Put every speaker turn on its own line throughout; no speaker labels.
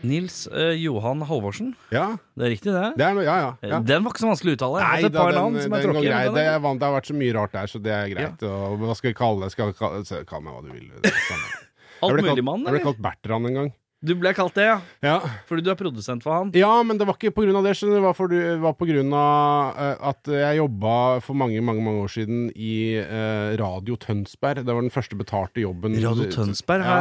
Nils eh, Johan Halvorsen,
Ja,
det er riktig det?
det er noe, ja, ja. ja.
Den var ikke så vanskelig å uttale.
Nei,
Nei, altså et
da,
par
den,
navn
den
som er
går
tråkige.
greit.
men
Det,
den-
er vant- det har vært så mye rart der, så det er greit. Og, hva skal vi kalle det? Skal vi kalle, så kall meg hva du vil. det er samme. Jeg
Alt
ble kalt-
mulig mann,
Jeg ble
eller?
kalt Bertrand en gang.
Du ble kalt det, ja.
Ja.
Fordi du er produsent for han.
ja, men det var ikke på grunn av det. skjønner du. Det var, for, det var på grunn av eh, at jeg jobba for mange, mange mange år siden i eh, Radio Tønsberg. Det var den første betalte jobben.
Radio Tønsberg.
Ja.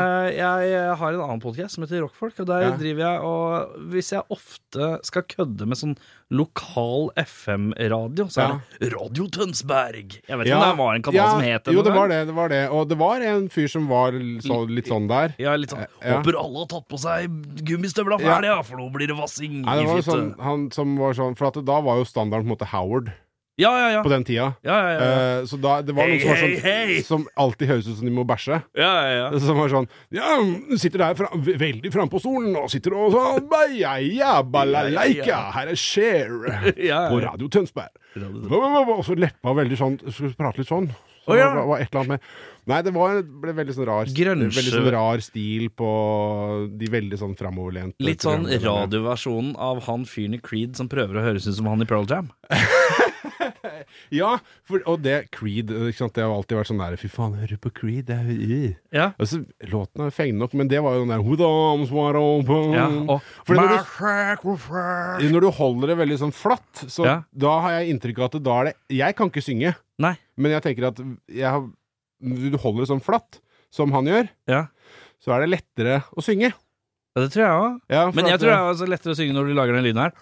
Jeg, jeg har en annen podkast som heter Rockfolk, og der
Ja.
driver jeg og Hvis jeg ofte skal kødde med sånn lokal FM-radio, så er
Ja.
det Radio Tønsberg! Jeg vet ikke
Ja,
om det var en kanal
ja,
som het
Jo, det
engang.
var det, det var det. Og det var en fyr som var så, litt sånn der.
Ja, litt sånn
Ja.
Håper alle har tatt på seg gummistøvla for
Ja.
helga, for nå blir det vassing
Nei, det
i
var jo
fitte.
sånn, han som var sånn For at da var jo standarden på en måte Howard
Ja, ja, ja.
på den tida.
ja, ja, ja.
Eh, så da, det var
Hei,
noen som, var
hei,
sånn,
hei!
som alltid høres ut som de må bæsje.
ja, ja, ja.
Som var sånn Ja, du sitter der fra, ve- veldig framme på stolen og sitter og sånn «Beia, ja, balalaika, her er Cher
ja,
på
ja.
Radio Tønsberg.
Radio-
Og så leppa veldig sånn Skulle prate litt sånn.
Å,
Så
ja.
det var et eller annet med Nei, det var, det ble veldig sånn rar
Grunge.
Veldig sånn rar stil på de veldig sånn framoverlente
Litt sånn
programlederne.
radioversjonen av han fyren i Creed som prøver å høres ut som han i Pearl Jam.
Ja, for, og det Creed ikke sant? Det har alltid vært sånn der Fy faen, hører du på Creed? Det er jo
Ja.
Altså, låten er fengende nok, men det var jo den der Who the arms were open
Ja, og
Mm. Fordi når du, når du holder det veldig sånn flatt, så
Ja.
da har jeg inntrykk av at da er det Jeg kan ikke synge,
Nei.
men jeg tenker at jeg har, du holder det sånn flatt, som han gjør,
Ja.
så er det lettere å synge.
Ja, det tror jeg òg.
Ja, for
Men jeg
at-
tror det er også lettere å synge når du lager den lyden her.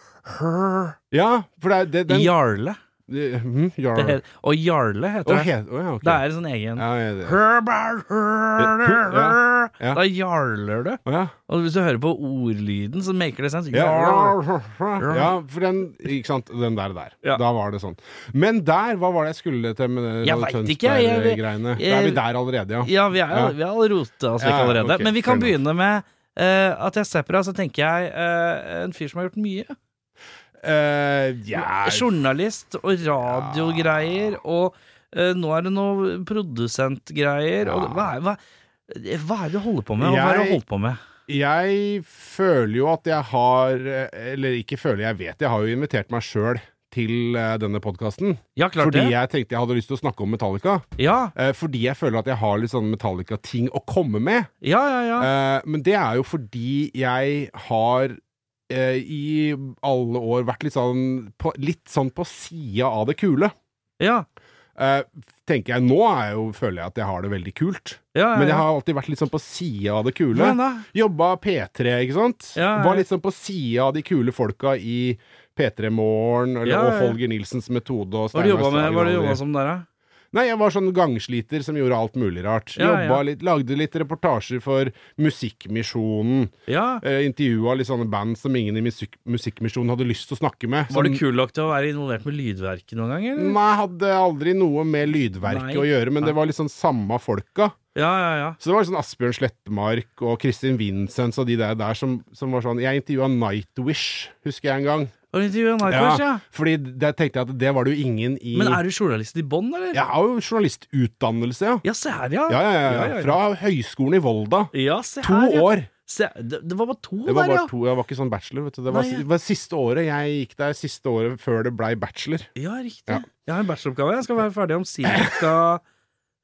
Ja, for det er det, den
Jarle.
Mhm, ja.
Det he og Jarle
Å,
heter det.
he- å, ja, ok.
Det er en sånn egen
ja, ja, det- Ja.
Da jarler du.
Å, ja.
Og hvis du hører på ordlyden, så maker det sense. Jarl.
Ja, ja, for den Ikke sant, den der der.
Ja.
Da var det sånn. Men der, hva var det jeg skulle til med det
Jeg
Radio
vet ikke, jeg- jeg-
Tønsberg-greiene?
jeg-
Da er vi der allerede, ja.
Ja, vi er
Ja.
vi har rota oss vekk
Ja,
allerede.
ok,
Men vi kan
fair
begynne med eh, at jeg ser på deg, så tenker jeg eh, en fyr som har gjort mye.
Eh, ja,
Journalist og radiogreier, og eh, nå er det noe produsentgreier. og
Ja.
Hva, er- hva, hva er det du holder på med, og hva er det du
Jeg-
holder på med?
jeg føler jo at jeg har Eller ikke føler, jeg vet jeg har jo invitert meg sjøl til eh, denne podkasten.
Ja, klart
Fordi
det.
jeg tenkte jeg hadde lyst til å snakke om Metallica.
Ja,
Eh, fordi jeg føler at jeg har litt sånn Metallica-ting å komme med.
ja, ja. ja.
Eh, men det er jo fordi jeg har eh, i alle år vært litt sånn på, litt sånn på sida av det kule.
ja,
Eh, tenker jeg Nå er jeg jo, føler jeg at jeg har det veldig kult,
ja, ja,
men jeg
ja.
har alltid vært litt sånn på sida av det kule.
Hvordan da?
Jobba P3, ikke sant?
Ja, ja.
Var litt sånn på sida av de kule folka i P3 Morgen, eller
Ja, ja, ja.
og Holger Nilsens metode og
Hva har du
Steinar
jobba med? Hva har
Sagen
du
og alle de-
jobbet som der, da?
Nei, jeg var sånn gangsliter som gjorde alt mulig rart.
Ja, ja.
Jobba litt, lagde litt reportasjer for Musikkmisjonen.
Ja.
Eh, Intervjua litt sånne band som ingen i musikk, Musikkmisjonen hadde lyst til å snakke med.
Var du
Som-
kul nok til å være involvert med lydverket noen gang, eller?
Nei, hadde aldri noe med
Nei.
lydverket å gjøre, men
Nei.
det var liksom samme folka.
Ja, ja, ja.
Så det var sånn Asbjørn Slettmark og Kristin Vincents og de der, der som, som var sånn Jeg intervjua Nightwish, husker jeg en gang.
Har du intervjua Nightwish, ja.
Fordi der tenkte jeg at det var det jo ingen i
Men er du journalist i bånn, eller?
Jeg har jo journalistutdannelse, ja.
Ja, se her, ja.
Ja, ja, ja, ja.
Ja, ja, ja.
Fra Høgskolen i Volda.
Ja, se
To
her, ja.
år.
Se, det, det var bare to
Det var
der, ja.
bare to, jeg var ikke sånn bachelor, vet du. Det var,
Nei, ja.
det var siste året jeg gikk der, siste året før det blei bachelor.
Ja, riktig.
Ja.
Jeg har en bacheloroppgave. Jeg skal være ferdig om ca.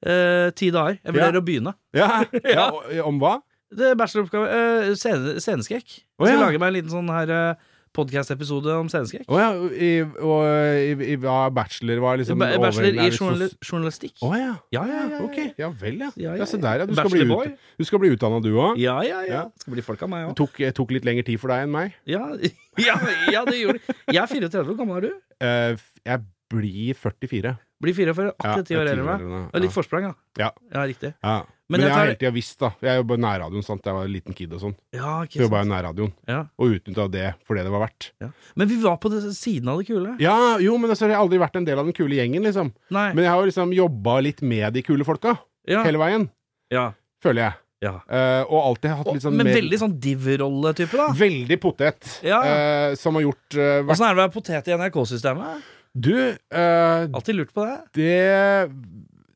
eh, ti dager. Jeg vurderer å begynne.
Ja,
Ja.
og- Om hva?
Det er bacheloroppgave eh, scene, Sceneskrekk. Jeg
Å,
skal
ja.
lage meg en liten sånn her eh, podcast-episode om sceneskrekk.
Å ja, i, og i, i, hva bachelor var liksom
Ba- Bachelor
overhengende,
i
er det sos-
journali journalistikk.
Å ja.
Ja, ja, ja, ja.
Ok. Ja vel, ja.
Ja, ja,
ja se der, ja. Du skal, bli
Bachelorboy.
ut, du skal bli utdanna, du òg.
Ja, ja, ja.
Ja.
Skal bli folk av meg
Det
òg.
tok, eh, tok litt lengre tid for deg enn meg.
Ja, ja, ja, det gjorde Jeg er 34. Hvor gammel er du?
Eh, f- jeg blir 44.
Blir 44, akkurat ti
Ja,
år
jeg er
eldre enn
ti år
meg.
eldre,
Det er Litt
ja.
forsprang, da.
Ja.
Ja, riktig.
Ja.
Men jeg
Men, jeg har
tar-
hele tida visst, da. Jeg jobba i nærradioen sant? jeg var en liten kid og sånn.
Ja,
Så
ikke
jobba
sant.
jeg i nærradioen,
Ja,
og utnytta det for det det var verdt.
ja. Men vi var på det, siden av det kule.
Ja, jo, men altså, jeg har aldri vært en del av den kule gjengen, liksom.
Nei.
Men jeg har jo liksom jobba litt med de kule folka
ja.
hele veien,
ja.
føler jeg.
ja.
Eh, og alltid hatt
Og,
litt sånn
men
mer-
veldig sånn div-rolle-type, da.
Veldig potet.
Ja.
eh, som har gjort eh, vært
Åssen er det å være potet i NRK-systemet?
Du, eh,
Alltid lurt på det.
det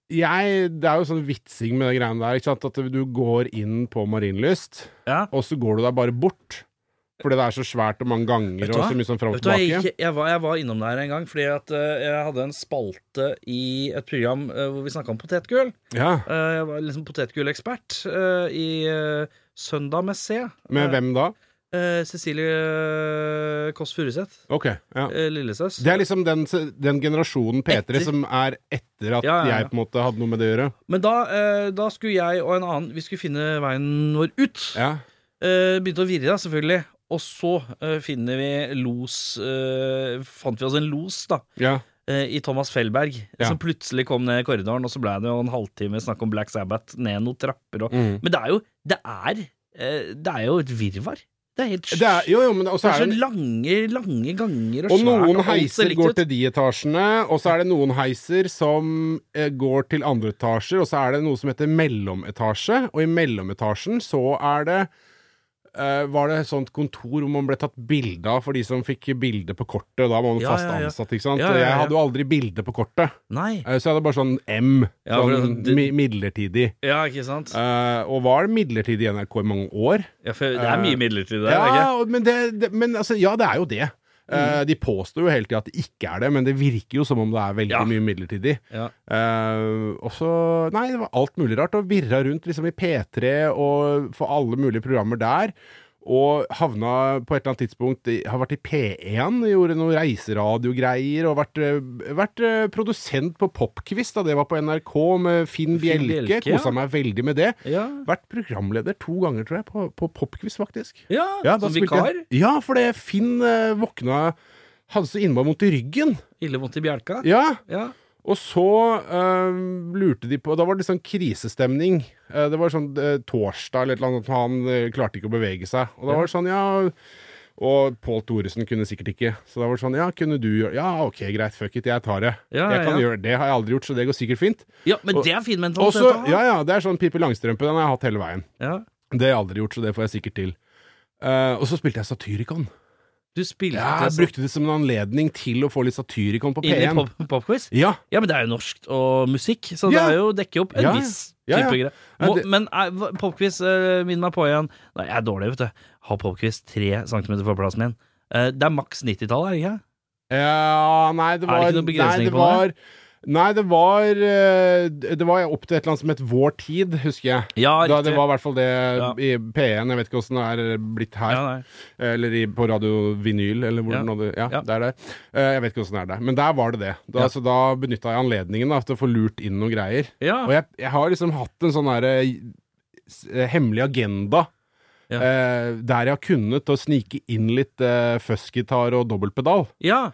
jeg, Det er jo sånn vitsing med de greiene der. Ikke sant? At du går inn på Marienlyst,
Ja.
og så går du deg bare bort. Fordi det er så svært og mange ganger
Vet du
og
hva?
så mye sånn fram og
Vet du, hva, jeg,
tilbake.
gikk- jeg, var, jeg var innom der en gang fordi at eh, jeg hadde en spalte i et program eh, hvor vi snakka om potetgull.
Ja.
Eh, jeg var liksom potetgullekspert eh, i eh, Søndag med C.
Med hvem da?
Eh, Cecilie Kåss Furuseth.
Ok. Ja.
eh, Lillesøs.
Det er liksom den, den generasjonen P3
Etter.
som er etter at
Ja, ja, ja.
jeg på en måte hadde noe med det å gjøre.
Men da, eh, da skulle jeg og en annen Vi skulle finne veien vår ut.
Ja.
Eh, begynte å virre, da, selvfølgelig. Og så eh, finner vi los eh, Fant vi oss en los, da.
ja.
eh, i Thomas Fellberg,
Ja.
som plutselig kom ned i korridoren, og så ble det jo en halvtime snakk om Black Sabbath, ned noen trapper og
Mm.
Men det er jo Det er, eh, det er jo et virvar. Det er helt
Det er, jo, jo, men også
det er
er det
så lange, lange ganger og,
Og
svært,
noen
alt ser
heiser
likt
går
ut.
til de etasjene, og så er det noen heiser som eh, går til andre etasjer, og så er det noe som heter mellometasje, og i mellometasjen så er det eh, var det et sånt kontor hvor man ble tatt bilde av for de som fikk bilde på kortet? Og da var man
Ja,
fast
ja, ja.
ansatt, ikke sant?
Ja, ja, ja,
Jeg
ja.
hadde jo aldri bilde på kortet,
Nei.
eh, så jeg hadde bare sånn M,
Ja, for
sånn
det-
mi- midlertidig.
Ja, ikke sant?
Eh, og var midlertidig i NRK i mange år.
Ja, for det er Mm. mye midlertidig der.
Ja,
ikke?
og- men, det, det, men altså, ja, det er jo det. Eh, de påstår jo hele tida at det ikke er det, men det virker jo som om det er veldig
Ja.
mye midlertidig.
Ja.
Eh, og så Nei, det var alt mulig rart. Og virra rundt liksom i P3 og for alle mulige programmer der. Og havna på et eller annet tidspunkt i- Har vært i P1, gjorde noen reiseradiogreier. Og vært, eh, vært eh, produsent på Popquiz da det var på NRK, med Finn,
Finn
Bjelke.
Bjelke, ja.
Kosa meg veldig med det.
Ja.
Vært programleder to ganger, tror jeg, på, på Popquiz, faktisk.
Ja,
Ja, da
som
spilte
vikar.
jeg- Ja, for det Finn eh, våkna Hadde så innmari vondt i ryggen.
Ille vondt i bjelka.
Ja,
Ja.
Og så eh, lurte de på Da var det sånn krisestemning. Eh, det var sånn eh, torsdag eller et eller annet, han eh, klarte ikke å bevege seg. Og da var det sånn, ja Og Pål Thoresen kunne sikkert ikke. Så da var det sånn, ja, kunne du gjøre Ja, ok, greit, fuck it, jeg tar det.
Ja,
jeg kan
ja.
gjøre det. Det har jeg aldri gjort, så det går sikkert fint.
ja, men
Og-
det er fin
Og
mentalitet
så,
å ha.
ja, ja, det er sånn Pippi Langstrømpe, den har jeg hatt hele veien.
Ja.
Det har jeg aldri gjort, så det får jeg sikkert til. Eh, og så spilte jeg Satyricon.
Du spilte
Ja, jeg
altså
brukte det som en anledning til å få litt satirikon på
inn i
P1.
pop- popquiz.
Ja,
Ja, men det er jo norsk og musikk, så det
Ja.
er jo dekker jo opp en
Ja, ja.
viss
Ja, ja.
type greier.
Ja,
Må-
det-
Men eh, hva- popquiz, eh, minn meg på igjen. Nei, jeg er dårlig, vet du. Har popquiz tre centimeter fra plassen min. Eh, Det er maks 90-tallet, er det ikke?
ja nei, det
Er det
var
ikke noen begrensninger
nei, det
på
var, Nei, det var eh, Det var opp til et eller annet som het Vår tid, husker jeg.
Ja,
Da, det var i hvert fall det
Ja.
i P1. Jeg vet ikke åssen det er blitt her.
ja, nei.
Eller i, på Radio Vinyl, eller hvor
Ja.
den hadde Ja,
Ja.
det er der. Eh, jeg vet ikke åssen det er der. Men der var det det. Da,
Ja.
Så da benytta jeg anledningen da, til å få lurt inn noen greier.
ja.
Og jeg, jeg har liksom hatt en sånn derre eh, hemmelig agenda.
Ja.
Eh, der jeg har kunnet å snike inn litt eh, fuzzgitar og dobbeltpedal.
ja.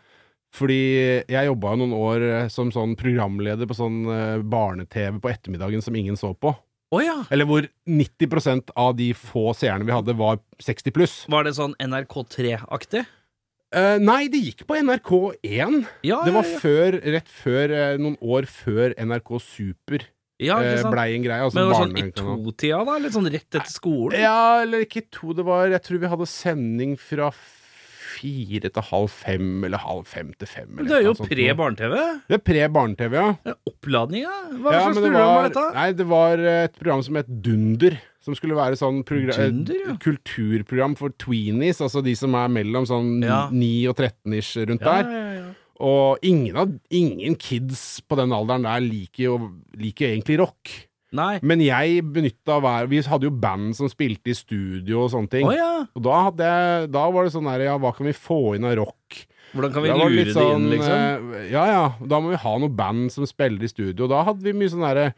Fordi jeg jobba jo noen år eh, som sånn programleder på sånn eh, barne-TV på ettermiddagen som ingen så på.
Å ja.
Eller hvor 90 av de få seerne vi hadde, var 60 pluss.
Var det sånn NRK3-aktig?
Eh, nei, det gikk på NRK1.
Ja,
Det var
ja,
før, rett før, eh, noen år før NRK Super
ja. ja,
eh,
ikke sant.
blei en greie. Altså
Men det var sånn i
barnekanal.
to-tida, da? Litt sånn rett etter skolen?
Ja, eller ikke to. Det var Jeg tror vi hadde sending fra fire til halv fem, eller halv fem til fem.
Men
Eller
det er jo
et eller annet sånt noe.
pre-barne-TV.
Det er pre-barne-TV, ja.
Det er Oppladninga? Hva
ja
slags
men det
program var dette?
Nei, det var eh, et program som het Dunder. Som skulle være sånn progra-
Dunder, ja.
et kulturprogram for tweenies, altså de som er mellom sånn
Ja.
9 og 13-ish rundt
Ja,
der.
ja, ja, ja.
Og ingen, av, ingen kids på den alderen der liker jo liker egentlig rock.
Nei.
Men jeg benytta hver Vi hadde jo band som spilte i studio og sånne ting.
Å ja.
Og da, hadde jeg, da var det sånn der Ja, hva kan vi få inn av rock?
Hvordan kan vi
Da var det
lure
litt
det inn,
sånn,
liksom?
eh, Ja ja, da må vi ha noe band som spiller i studio. Da hadde vi mye sånn derre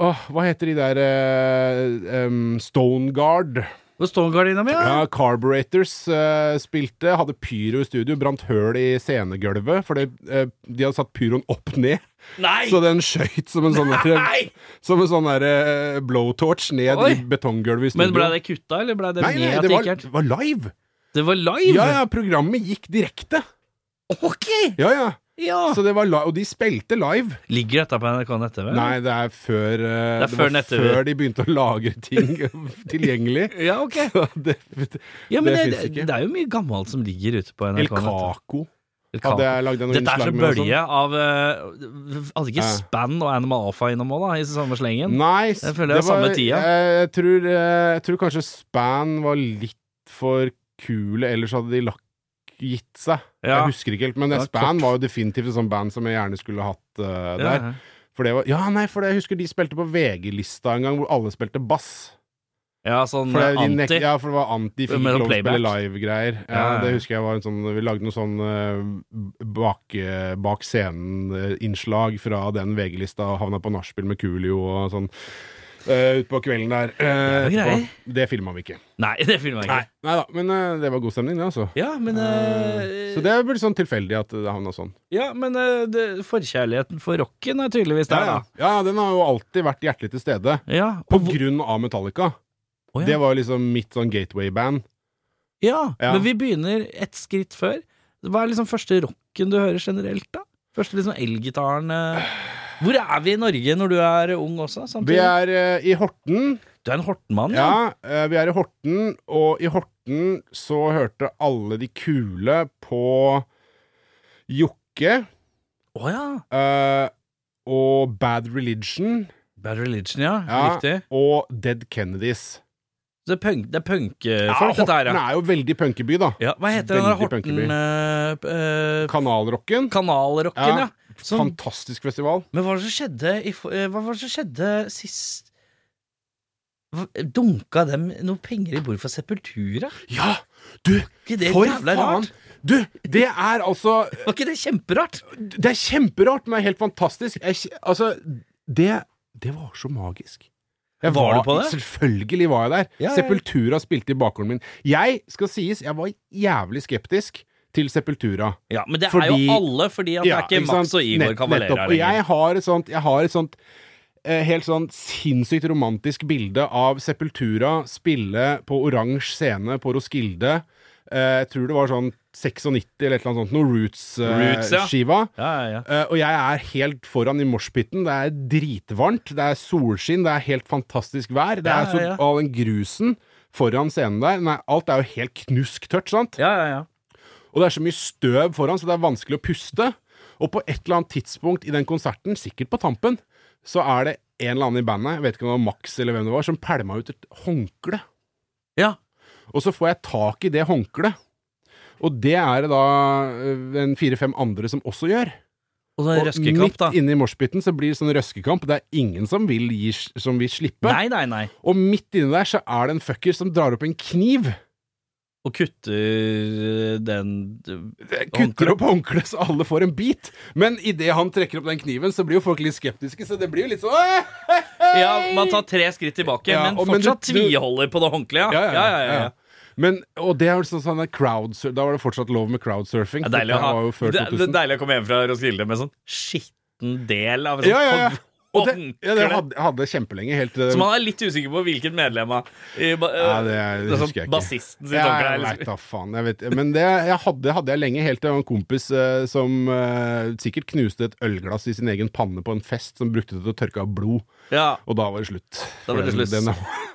Åh, hva heter de der eh, em, Stone Guard
Hvor står gardina mi? Ja?
Ja, Carburetors eh, spilte, hadde pyro i studio, brant høl i scenegulvet fordi eh, de hadde satt pyroen opp ned.
Nei!
Så den skøyt som en sånn der,
Nei!
Som en sånn der eh, blowtorch ned
Oi.
i betonggulvet i studio.
Men ble det kutta, eller ble det
Nei, nei,
med at
det
det
var,
ikke er
det var live!
Det var live?
Ja, ja, programmet gikk direkte.
Ok!
Ja, ja.
Ja.
Så det var li og de spilte live.
Ligger dette på NRK nett-TV? eller?
Nei, det er før eh,
Det er før
var
nett-TV.
før de begynte å lagre ting tilgjengelig.
Ja, ok.
Så det,
Ja, men det,
Det
det,
finnes ikke.
er jo mye gammelt som ligger ute på
El
NRK nett.
Caco
El Caco.
hadde jeg lagd
Dette
en
er
innslag
så
med og sånn.
bølje av eh, Hadde ikke
Ja.
Span og Animal Alpha innom òg, da, i samme slengen?
Nei, s-
Jeg føler det er samme tida.
eh, Jeg tror, eh, jeg tror kanskje Span var litt for kule, ellers hadde de lagt gitt seg.
Ja.
Jeg husker ikke helt, men
Det
det
var
Span
kort.
var jo definitivt et sånt band som jeg gjerne skulle hatt eh, der.
Ja.
For det var, ja, nei, for det, jeg husker de spilte på VG-lista en gang hvor alle spilte bass.
ja, sånn
For det, de
anti.
nek- ja, for det var anti, de fikk
Mellom
ikke lov til å spille
playback.
live-greier. Ja,
Ja, ja.
Det husker jeg var en sånn Vi lagde noe sånn eh, bak, eh, bak scenen-innslag fra den VG-lista og havna på nachspiel med Coolio og sånn eh, utpå kvelden der. Eh,
Det er jo
etterpå. det filma vi ikke.
Nei, det filmer jeg
Nei
ikke.
da, men eh, det var god stemning, det, altså.
Ja, men, eh,
Så det er vel sånn tilfeldig at det havna sånn.
ja, men eh, det, forkjærligheten for rocken er tydeligvis der,
ja.
da.
ja, den har jo alltid vært hjertelig til stede.
Ja,
På
og hvor-
grunn av Metallica.
Å, ja.
Det var jo liksom mitt sånn gateway-band.
Ja,
Ja.
men vi begynner et skritt før. Hva er liksom første rocken du hører generelt, da? Første liksom elgitaren eh. Hvor er vi i Norge når du er ung også?
Vi
samtidig?
er eh, i Horten.
Du er en Hortenmann, ja.
Ja, eh, vi er i Horten, og i Horten så hørte alle de kule på Jokke
Å ja.
eh, og Bad Religion
Bad Religion, ja.
Ja.
Riktig.
og Dead Kennedys.
Så det er punk- det er
Ja,
punkefolk,
Horten
dette her, ja.
er jo veldig punkeby, da.
ja. Hva heter den der
Veldig punkeby.
Horten eh, eh,
Kanalrocken.
Kanalrocken, ja.
Ja.
Som,
Fantastisk festival.
men hva var det som skjedde i, for- eh, Hva var det som skjedde sist Hva- Dunka dem noe penger i bordet for Sepultura?
Ja! Du,
Ikke det
for
jævla
faen!
rart?
Du, det er altså
Var ikke det kjemperart?
Mm. Det er kjemperart, men det er helt fantastisk. Jeg, kj- altså, det, det var så magisk. Jeg
Var du på det?
Selvfølgelig var jeg der.
Ja, ja.
Sepultura spilte i bakgården min. Jeg skal sies, jeg var jævlig skeptisk til Sepultura.
Ja, men det er
Fordi-
jo alle, fordi at det er ikke, Max
sant?
og Igor
Nett-
Cavalera
nettopp.
her
Og
lenger.
jeg har et sånt, jeg har et sånt eh, Helt sånn sinnssykt romantisk bilde av Sepultura spille på oransje scene på Roskilde. Eh, jeg tror det var sånn 96 eller et eller annet sånt. Noe eh,
Roots, ja.
Roots-skiva.
Ja, ja, ja.
Eh, og jeg er helt foran i moshpiten. Det er dritvarmt, det er solskinn, det er helt fantastisk vær. Det
Ja,
er så,
ja, ja.
All den grusen foran scenen der Nei, alt er jo helt knusktørt, sant?
ja, ja, ja.
Og det er så mye støv foran, så det er vanskelig å puste. Og på et eller annet tidspunkt i den konserten, sikkert på tampen, så er det en eller annen i bandet, jeg vet ikke om det var Max eller hvem det var, som pælma ut et håndkle.
Ja.
Og så får jeg tak i det håndkleet. Og det er det da eh, en fire-fem andre som også gjør.
Og så en
Og
røskekamp, da.
midt inne i moshpiten så blir det sånn røskekamp. Det er ingen som vil, gi, som vil slippe.
Nei, nei, nei.
Og midt inni der så er det en fucker som drar opp en kniv.
Og kutter den
Kutter opp håndkleet så alle får en bit. Men idet han trekker opp den kniven, så blir jo folk litt skeptiske, så det blir jo litt sånn «Åh, hei, hei!»
Ja, man tar tre skritt tilbake,
Ja,
men
og- men du-
fortsatt
du-
tviholder på det håndkleet. Ja. Ja, ja, ja, ja.
Men, og det er jo sånn, sånn der crowdsur- Da var det fortsatt lov med crowdsurfing.
Det er deilig å
Dette
ha
var jo
det,
før
det
2000.
er deilig å komme hjem fra Roskilde med sånn skitten del av sånn
ja, ja, ja. Og det,
håndkle.
ja, det hadde, hadde kjempelenge. Helt eh, til det-
Så man er litt usikker på hvilket medlem av i ba-
ja, det, det,
er sånn
husker jeg ikke.
Bassisten sitt
Ja,
håndkle.
jeg
liksom.
vet da faen. Jeg vet. Men det jeg hadde, hadde jeg lenge, helt til jeg var en kompis eh, som eh, sikkert knuste et ølglass i sin egen panne på en fest, som brukte det til å tørke av blod.
Ja.
Og da var det slutt.
Da var det
For Den,
slutt.
den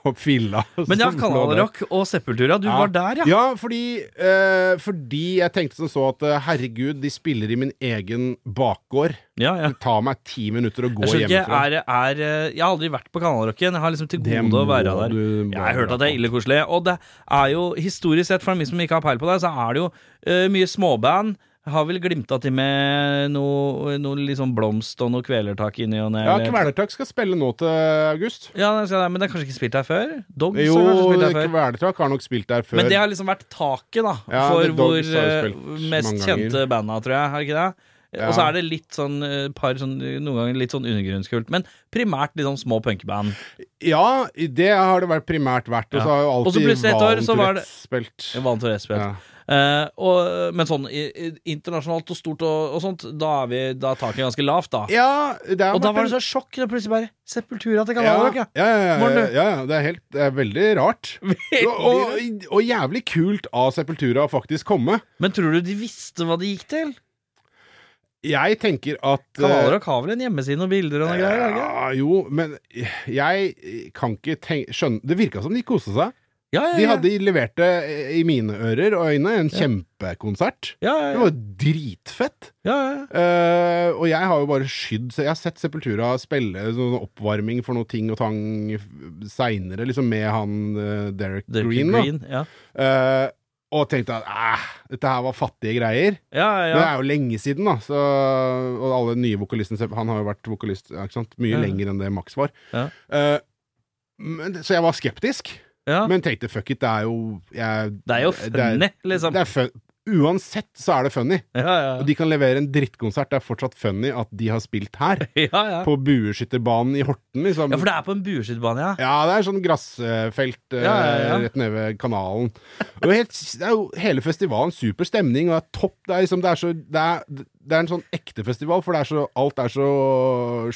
var filla.
Men ja,
som Sånn lå der.
Kanalrock og Sepultura, du var der, ja.
Ja, fordi, eh, fordi jeg tenkte som så at eh, herregud, de spiller i min egen bakgård.
ja, ja.
Det tar meg ti minutter å gå
Jeg skjønner ikke,
hjemmefra.
er, er, eh, jeg har aldri vært på Kanalrocken. Jeg har liksom til
Det
gode å
må
være der.
du
Jeg
bare
har hørt at det
dra på.
er ille koselig. Og det er jo historisk sett, for de som ikke har peil på det, så er det jo eh, mye småband. Har vel glimta til med noe, noe liksom blomst og noe kvelertak inni og ned.
Ja,
eller-
Kvelertak skal spille nå til august.
Ja, det skal jeg- men det er kanskje ikke spilt her før? Dogs
Jo,
har kanskje spilt her før.
Kvelertak har nok spilt der før.
Men det har liksom vært taket, da,
Ja,
for
The
hvor
Dogs har jo
eh,
spilt
mest
mange ganger.
kjente banda, tror jeg. Har det ikke det? Og så er det litt sånn eh, par sånn, noen ganger litt sånn undergrunnskult, men primært litt sånn små punkeband.
Ja, det har det vært primært vært. Og
Ja.
så har jo
Og så
alltid
plutselig et år
Valen
så var det-
Tourettes spilt.
Vant og respekt.
Ja.
Eh, og, men sånn i, i, internasjonalt og stort og, og sånt, da er, vi, da er taket ganske lavt, da.
ja, det er
og da
vært
var
en-
det så sjokk da plutselig bare Sepultura til
ja,
Canada.
ja, ja, ja,
Morten,
ja,
du-
ja, det er helt Det er veldig rart. Og, og, og jævlig kult av Sepultura å faktisk komme.
Men tror du de visste hva det gikk til?
Jeg tenker at eh,
Kanaler og Kavel en hjemmeside og bilder og noe greier. er det ikke?
ja, jo, men jeg kan ikke tenke, skjønne Det virka som de koste seg.
Ja, ja,
De
ja.
hadde leverte, i mine ører og øyne, en kjempekonsert.
ja, ja,
Det
ja,
var dritfett.
ja, ja.
Eh, og jeg har jo bare skydd så Jeg har sett Sepultura spille sånn oppvarming for noe ting og tang seinere, liksom med han eh, Derek,
Dirty
Green, da.
Green, ja.
Eh, og tenkte at æh, dette her var fattige greier.
Ja, ja,
Men det
ja.
er jo lenge siden, da. Så, og alle nye vokalistene Sepp- Han har jo vært vokalist ja, ikke sant? mye
Ja.
lenger enn det Max var.
Ja.
Eh, men, så jeg var skeptisk,
ja.
men tenkte fuck it, det er jo jeg,
Det er jo
det er-
funny, liksom.
det er fun, uansett så er det funny.
Ja, ja.
Og de kan levere en drittkonsert. Det er fortsatt funny at de har spilt her.
Ja, ja.
På bueskytterbanen i Horten, liksom.
ja, for det er på en bueskytebane, ja.
Ja, det er sånn grassfelt eh,
Ja, ja, ja.
rett nede ved kanalen. Og helt, det er jo hele festivalen super stemning, og det er topp. Det er, liksom, det er, så, det er, det er en sånn ekte festival, for det er så, alt er så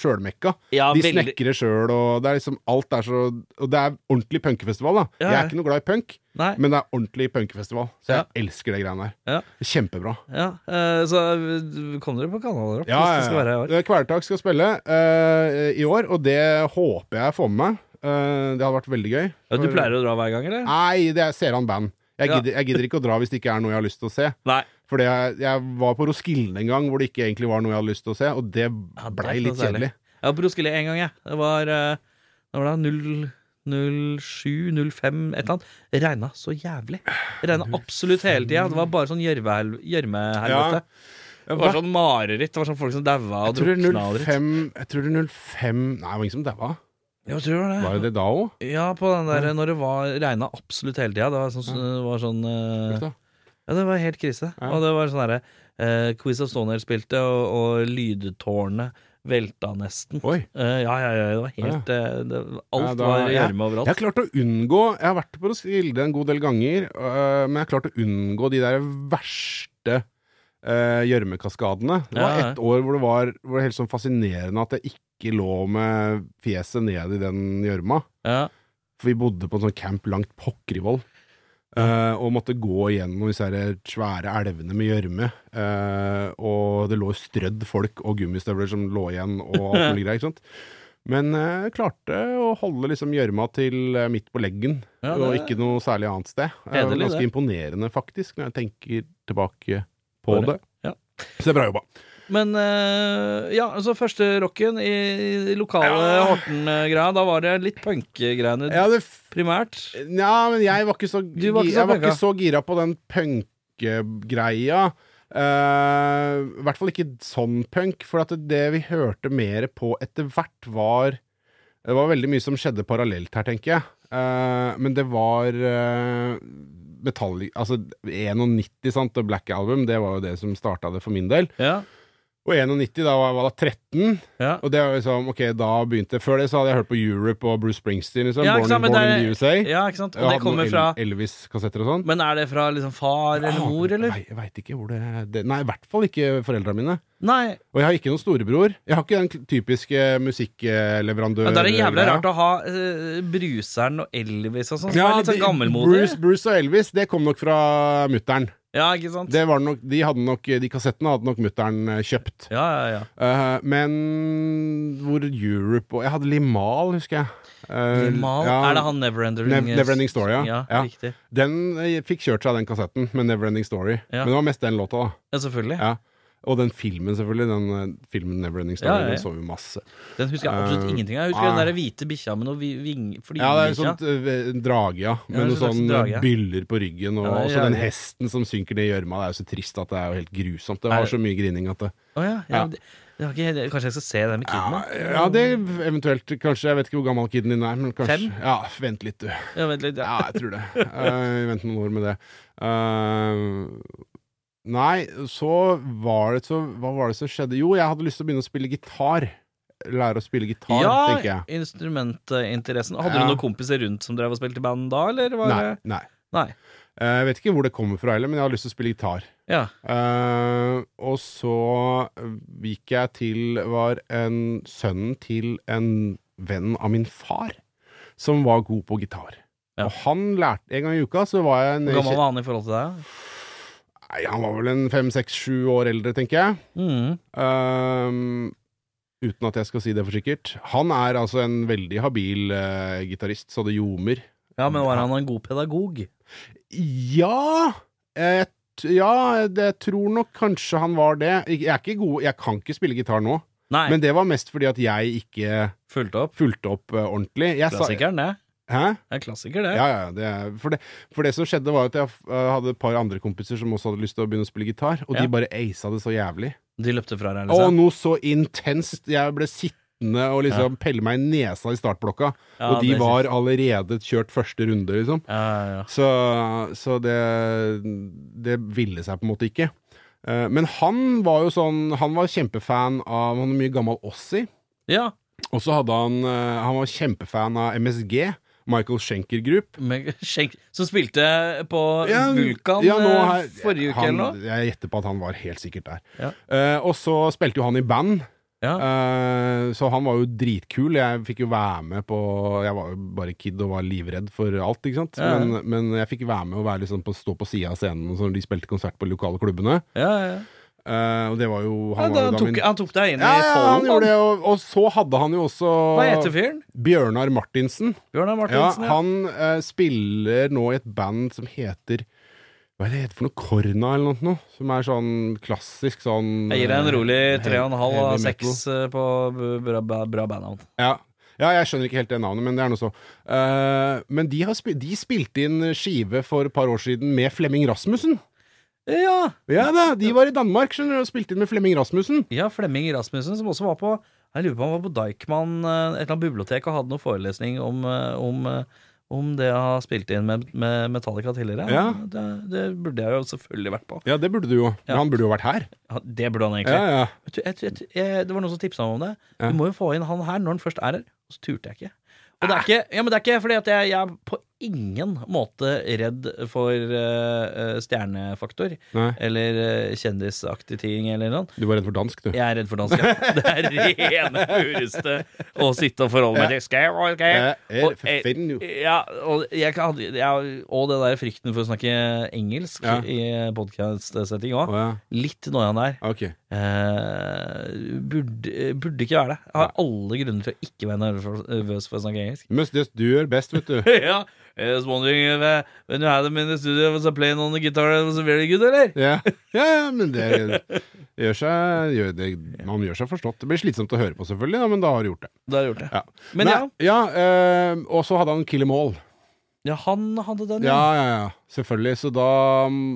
sjølmekka.
Ja,
De
veldig-
snekrer sjøl, og det er liksom alt er så Og det er ordentlig punkefestival, da.
Ja,
Jeg
ja.
er ikke noe glad i punk,
Nei.
men det er ordentlig punkefestival. Så jeg elsker det greiene der.
Ja.
Kjempebra.
Ja, eh, så eh, kom dere på Kanaler opp
Ja,
hvis det skal være i år.
ja. Kvelertak skal spille eh, i år, og det håper jeg får med meg. Eh, det hadde vært veldig gøy.
Ja, du pleier å dra hver gang, eller?
Nei, det er Seran Band. Jeg
Ja.
gidder, jeg gidder ikke å dra hvis det ikke er noe jeg har lyst til å se.
Nei.
Fordi jeg, jeg var på Roskilde en gang hvor det ikke egentlig var noe jeg hadde lyst til å se, og det
Ja, det
blei
er
litt
noe særlig.
kjedelig.
Jeg var på Roskilde én gang, jeg. Det var, eh, det var da 0, 07, 05, et eller annet. Det regna så jævlig. Det regna absolutt hele tida. Det var bare sånn gjørmehel- gjørmehelvete. Det var sånn mareritt. Det var sånn folk som daua og
Jeg tror det
drukna og
er
dritt.
05 Jeg tror det er 05 Nei, det var ingen som daua.
Ja, jeg tror det
Var
var
det
det.
det da òg?
Ja, på den der når det var regna absolutt hele tida. Det var sånn, det var sånn eh, Ja, det var helt krise.
Ja.
Og det var sånn herre eh, Quiz of Stoner spilte, og, og lydtårnet velta nesten.
Oi.
Eh, ja, ja, ja, det var helt eh, det, Alt
Ja, da-
var
ja.
gjørme overalt.
Jeg har klart å unngå Jeg har vært på Roskilde en god del ganger, øh, men jeg har klart å unngå de der verste øh, gjørmekaskadene. det var
Ja, ja.
ett år hvor det var, hvor det var helt sånn fascinerende at jeg ikke lå med fjeset ned i den gjørma.
Ja.
For vi bodde på en sånn camp langt pokker i vold. Eh, og måtte gå gjennom disse her svære elvene med gjørme. Eh, og det lå strødd folk og gummistøvler som lå igjen, og alt mulig greier. ikke sant? Men eh, klarte å holde liksom gjørma til eh, midt på leggen,
Ja,
og
det-
ikke noe særlig annet sted. Eh,
Hederlig,
ganske
det.
imponerende, faktisk, når jeg tenker tilbake på
Bare-
det.
ja.
Så det er bra jobba.
Men eh, ja, altså første rocken i i lokale Horten-greia, da var det litt punkegreiene
Ja, det f
primært.
Nja, men jeg var ikke så,
Du var ikke så
jeg var
punka.
ikke så gira på den punkegreia. Eh, I hvert fall ikke sånn punk, for at det vi hørte mer på etter hvert, var Det var veldig mye som skjedde parallelt her, tenker jeg. Eh, men det var uh, metall... Altså 91, sant, og Black Album, det var jo det som starta det for min del.
Ja,
Og 91, da var jeg var da 13.
ja.
Og det var liksom, ok, da begynte Før det så hadde jeg hørt på Europe og Bruce Springsteen, liksom.
Ja, ikke
Born,
sant, men
Born
det er-
in the USA.
ja ikke sant?
Jeg
Og det
hadde
kommer
noen
fra
El- Elvis-kassetter og sånn.
Men er det fra liksom far eller mor, eller?
Jeg veit ikke hvor det, det Nei, i hvert fall ikke foreldra mine.
Nei.
Og jeg har ikke noen storebror. Jeg har ikke den kl- typiske musikkleverandør...
Ja, det er det jævla
greia.
rart å ha eh, Bruseren og Elvis og sånn, som
Ja,
er litt sånn
de-
gammelmodig.
Bruce, Bruce og Elvis, det kom nok fra mutter'n.
Ja, ikke sant?
Det var nok- De, hadde nok- de kassettene hadde nok mutter'n eh, kjøpt.
Ja, ja, ja.
Eh, men hvor Europe og Jeg hadde Limal, husker jeg. Eh,
Limal.
ja,
er det han Neverending
Nev- Neverending Story, ja.
Ja,
Ja.
riktig.
Den eh, fikk kjørt seg, den kassetten, med Neverending Story.
Ja.
Men det var mest den låta, da.
Ja, selvfølgelig.
Ja. Og den filmen, selvfølgelig. Den eh, filmen Neverending Story.
Ja, ja, ja.
Den så vi masse.
Den husker jeg absolutt
Eh,
ingenting av. Jeg husker
nei.
den der hvite bikkja med noe vi- ving...
Ja, det er en
flygebikkja.
sånn eh, en drage, ja.
Ja,
Med
en
noen
slags
sånn
drage.
byller på ryggen. Og
Ja, det er
også den
jævlig.
hesten som synker ned i gjørma. Det er jo så trist at det er jo helt grusomt. Det
Er-
var så mye grining at det
Å ja, ja,
Ja.
men Det, det var ikke, det, kanskje jeg skal se den med
ja,
kiden? da?
ja, det eventuelt Kanskje, jeg vet ikke hvor gammel kiden din er, men kanskje
Fem?
Ja, vent litt, du.
Ja, vent litt. Ja.
Ja, jeg tror det. Eh, vent noen år med det. Eh, Nei, så var det så Hva var det som skjedde? Jo, jeg hadde lyst til å begynne å spille gitar. Lære å spille gitar, tenker
Ja,
jeg.
instrumentinteressen. Hadde
Ja.
du noen kompiser rundt som drev og spilte i band da, eller var
Nei.
det
nei.
Nei.
Eh, Jeg vet ikke hvor det kommer fra heller, men jeg har lyst til å spille gitar.
Ja.
Eh, og så gikk jeg til Var en sønnen til en venn av min far som var god på gitar.
Ja.
Og han lærte En gang i uka så var jeg en
Hvor gammel var han i forhold til deg?
Nei, Han var vel en fem, seks, sju år eldre, tenker jeg.
Mm.
Ehm, uten at jeg skal si det for sikkert. Han er altså en veldig habil eh, gitarist, så det ljomer.
Ja, men var han en god pedagog?
Ja jeg t- Ja, det, jeg tror nok kanskje han var det. Ik- Jeg er ikke god Jeg kan ikke spille gitar nå,
Nei,
men det var mest fordi at jeg ikke
fulgte opp.
fulgte opp eh, ordentlig. Jeg sa-
Klassikeren, det.
Hæ?
Det er en klassiker, det.
Ja, ja, det er, for, det, for det som skjedde, var at jeg eh, hadde et par andre kompiser som også hadde lyst til å begynne å spille gitar, og
Ja.
de bare aisa det så jævlig.
De løpte fra deg,
Og
liksom.
noe så intenst. Jeg ble sittende og liksom pelle meg i nesa i startblokka.
Ja,
og de
det er
var allerede kjørt første runde, liksom.
Ja, ja, ja.
Så, så det, det ville seg på en måte ikke. Eh, Men han var jo sånn Han var kjempefan av Han hadde mye gammel Ossi.
ja.
Og så hadde han eh, Han var kjempefan av MSG. Michael Schenker Group.
Meg- Skjenk, som spilte på
Ja,
Vulkan
ja, nå
eh,
her-
forrige uke,
han,
eller noe?
Jeg gjetter på at han var helt sikkert der.
Ja.
Eh, og så spilte jo han i band.
Ja.
Eh, så han var jo dritkul. Jeg fikk jo være med på Jeg var jo bare kid og var livredd for alt, ikke sant.
Ja, ja.
Men, men jeg fikk være med og være liksom på, stå på sida av scenen når de spilte konsert på de lokale klubbene.
Ja, ja.
Eh, og det var jo
Han,
Han var jo
han,
da
tok,
min
han tok deg inn
ja,
i
ja, han
folden.
gjorde
han.
det, og, og så hadde han jo også
Hva heter fyren?
Bjørnar Martinsen.
Bjørnar
Ja,
Martinsen? Ja,
han eh, spiller nå i et band som heter Hva er det heter for noe? Korna eller noe? noe som er sånn klassisk sånn
Jeg gir deg en rolig
eh,
tre og en halv av
heavy metal.
seks eh, på b- bra, bra, bra bandnavn.
Ja. ja, jeg skjønner ikke helt det navnet, men det er noe så. Eh, men de, har spi de spilte inn skive for et par år siden med Flemming Rasmussen.
Ja.
Ja da, De var i Danmark skjønner du, og spilte inn med Flemming Rasmussen.
ja, Flemming Rasmussen, som også var på Jeg lurer på om han var på Deichman, eh, et eller annet bibliotek, og hadde noen forelesning om, eh, om, eh, om det jeg har spilt inn med, med Metallica tidligere.
Ja.
Det, det burde jeg jo selvfølgelig vært på.
Ja, det burde du jo.
Ja.
Men han burde jo vært her.
Ja, Det burde han egentlig.
Ja, ja.
Vet du, jeg, tror- jeg, tror- jeg, det var noen som tipsa meg om det.
Ja.
Du må jo få inn han her når han først er her. Og så turte jeg ikke. Og det er ikke, ja, men det er ikke fordi at jeg, jeg er på ingen måte redd for eh, eh, stjernefaktor
Nei,
eller eh, kjendisaktig ting eller noe.
du var redd for dansk, du.
Jeg er redd for dansk. ja. Det er rene pureste å sitte og forholde meg til. Skal jeg, skal jeg?
Jeg er
Og-
for fin, jo.
Ja, og, jeg kan, jeg, og det der frykten for å snakke engelsk
Ja.
i podkast-setting òg.
Å, ja.
Litt noia der.
Ok.
Eh, burde, burde ikke være det. Jeg har alle grunner til å ikke være nervøs- nervøs for å snakke engelsk.
Must just do your best, vet du.
ja, I was wondering if, uh, when you had him in the studio, was I playing on the guitar, was it very good, eller?
Ja, ja, ja men det gjør seg gjør det, Man gjør seg forstått. Det blir slitsomt å høre på, selvfølgelig, da, men da har du gjort det.
Da har jeg gjort det.
Ja.
Men
Nei, ja eh, Og så hadde han Kill 'Em All.
Ja, han hadde den,
Ja, ja, ja. Selvfølgelig. Så da,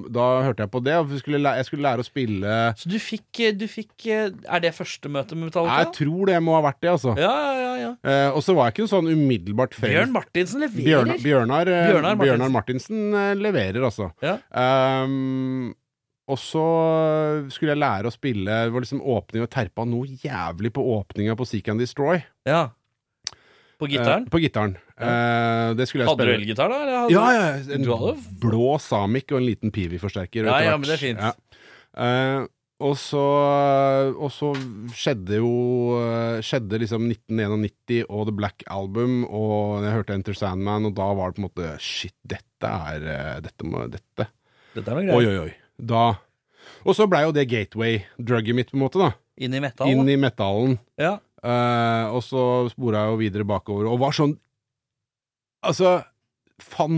da hørte jeg på det. Og vi skulle læ- jeg skulle lære å spille
Så du fikk, du fikk eh, Er det første møte med
Jeg
Metallica?
tror det må ha vært det, altså.
ja, ja, ja, ja.
Eh, og så var jeg ikke sånn umiddelbart
Bjørn
frelst.
Martinsen leverer.
Bjørnar, Bjørnar, eh,
Bjørnar Martinsen.
Bjørnar Martinsen eh, leverer, altså.
Ja.
Ehm, og så skulle jeg lære å spille Det var liksom åpning og terpa noe jævlig på åpninga på Seek and Destroy.
Ja. På
Eh,
gitaren?
på gitaren. Eh, det skulle jeg
Hadde du
spille.
elgitar, da? Eller hadde
Ja, ja, en
Du hadde-
blå Samic og en liten Pivi-forsterker.
Ja,
etter
ja,
hvert.
men det er fint.
Ja. Eh, og så Og så skjedde jo eh, Skjedde liksom 1991 og The Black Album, og jeg hørte Enter Sandman, og da var det på en måte Shit, dette er eh, Dette må Dette.
Dette er noe
Oi,
greier.
oi, oi. Da Og så blei jo det gateway-drugget mitt, på en måte, da.
Inn i metal?
Inn
da.
i metallen.
Ja.
Eh, og så spora jeg jo videre bakover, og var sånn Altså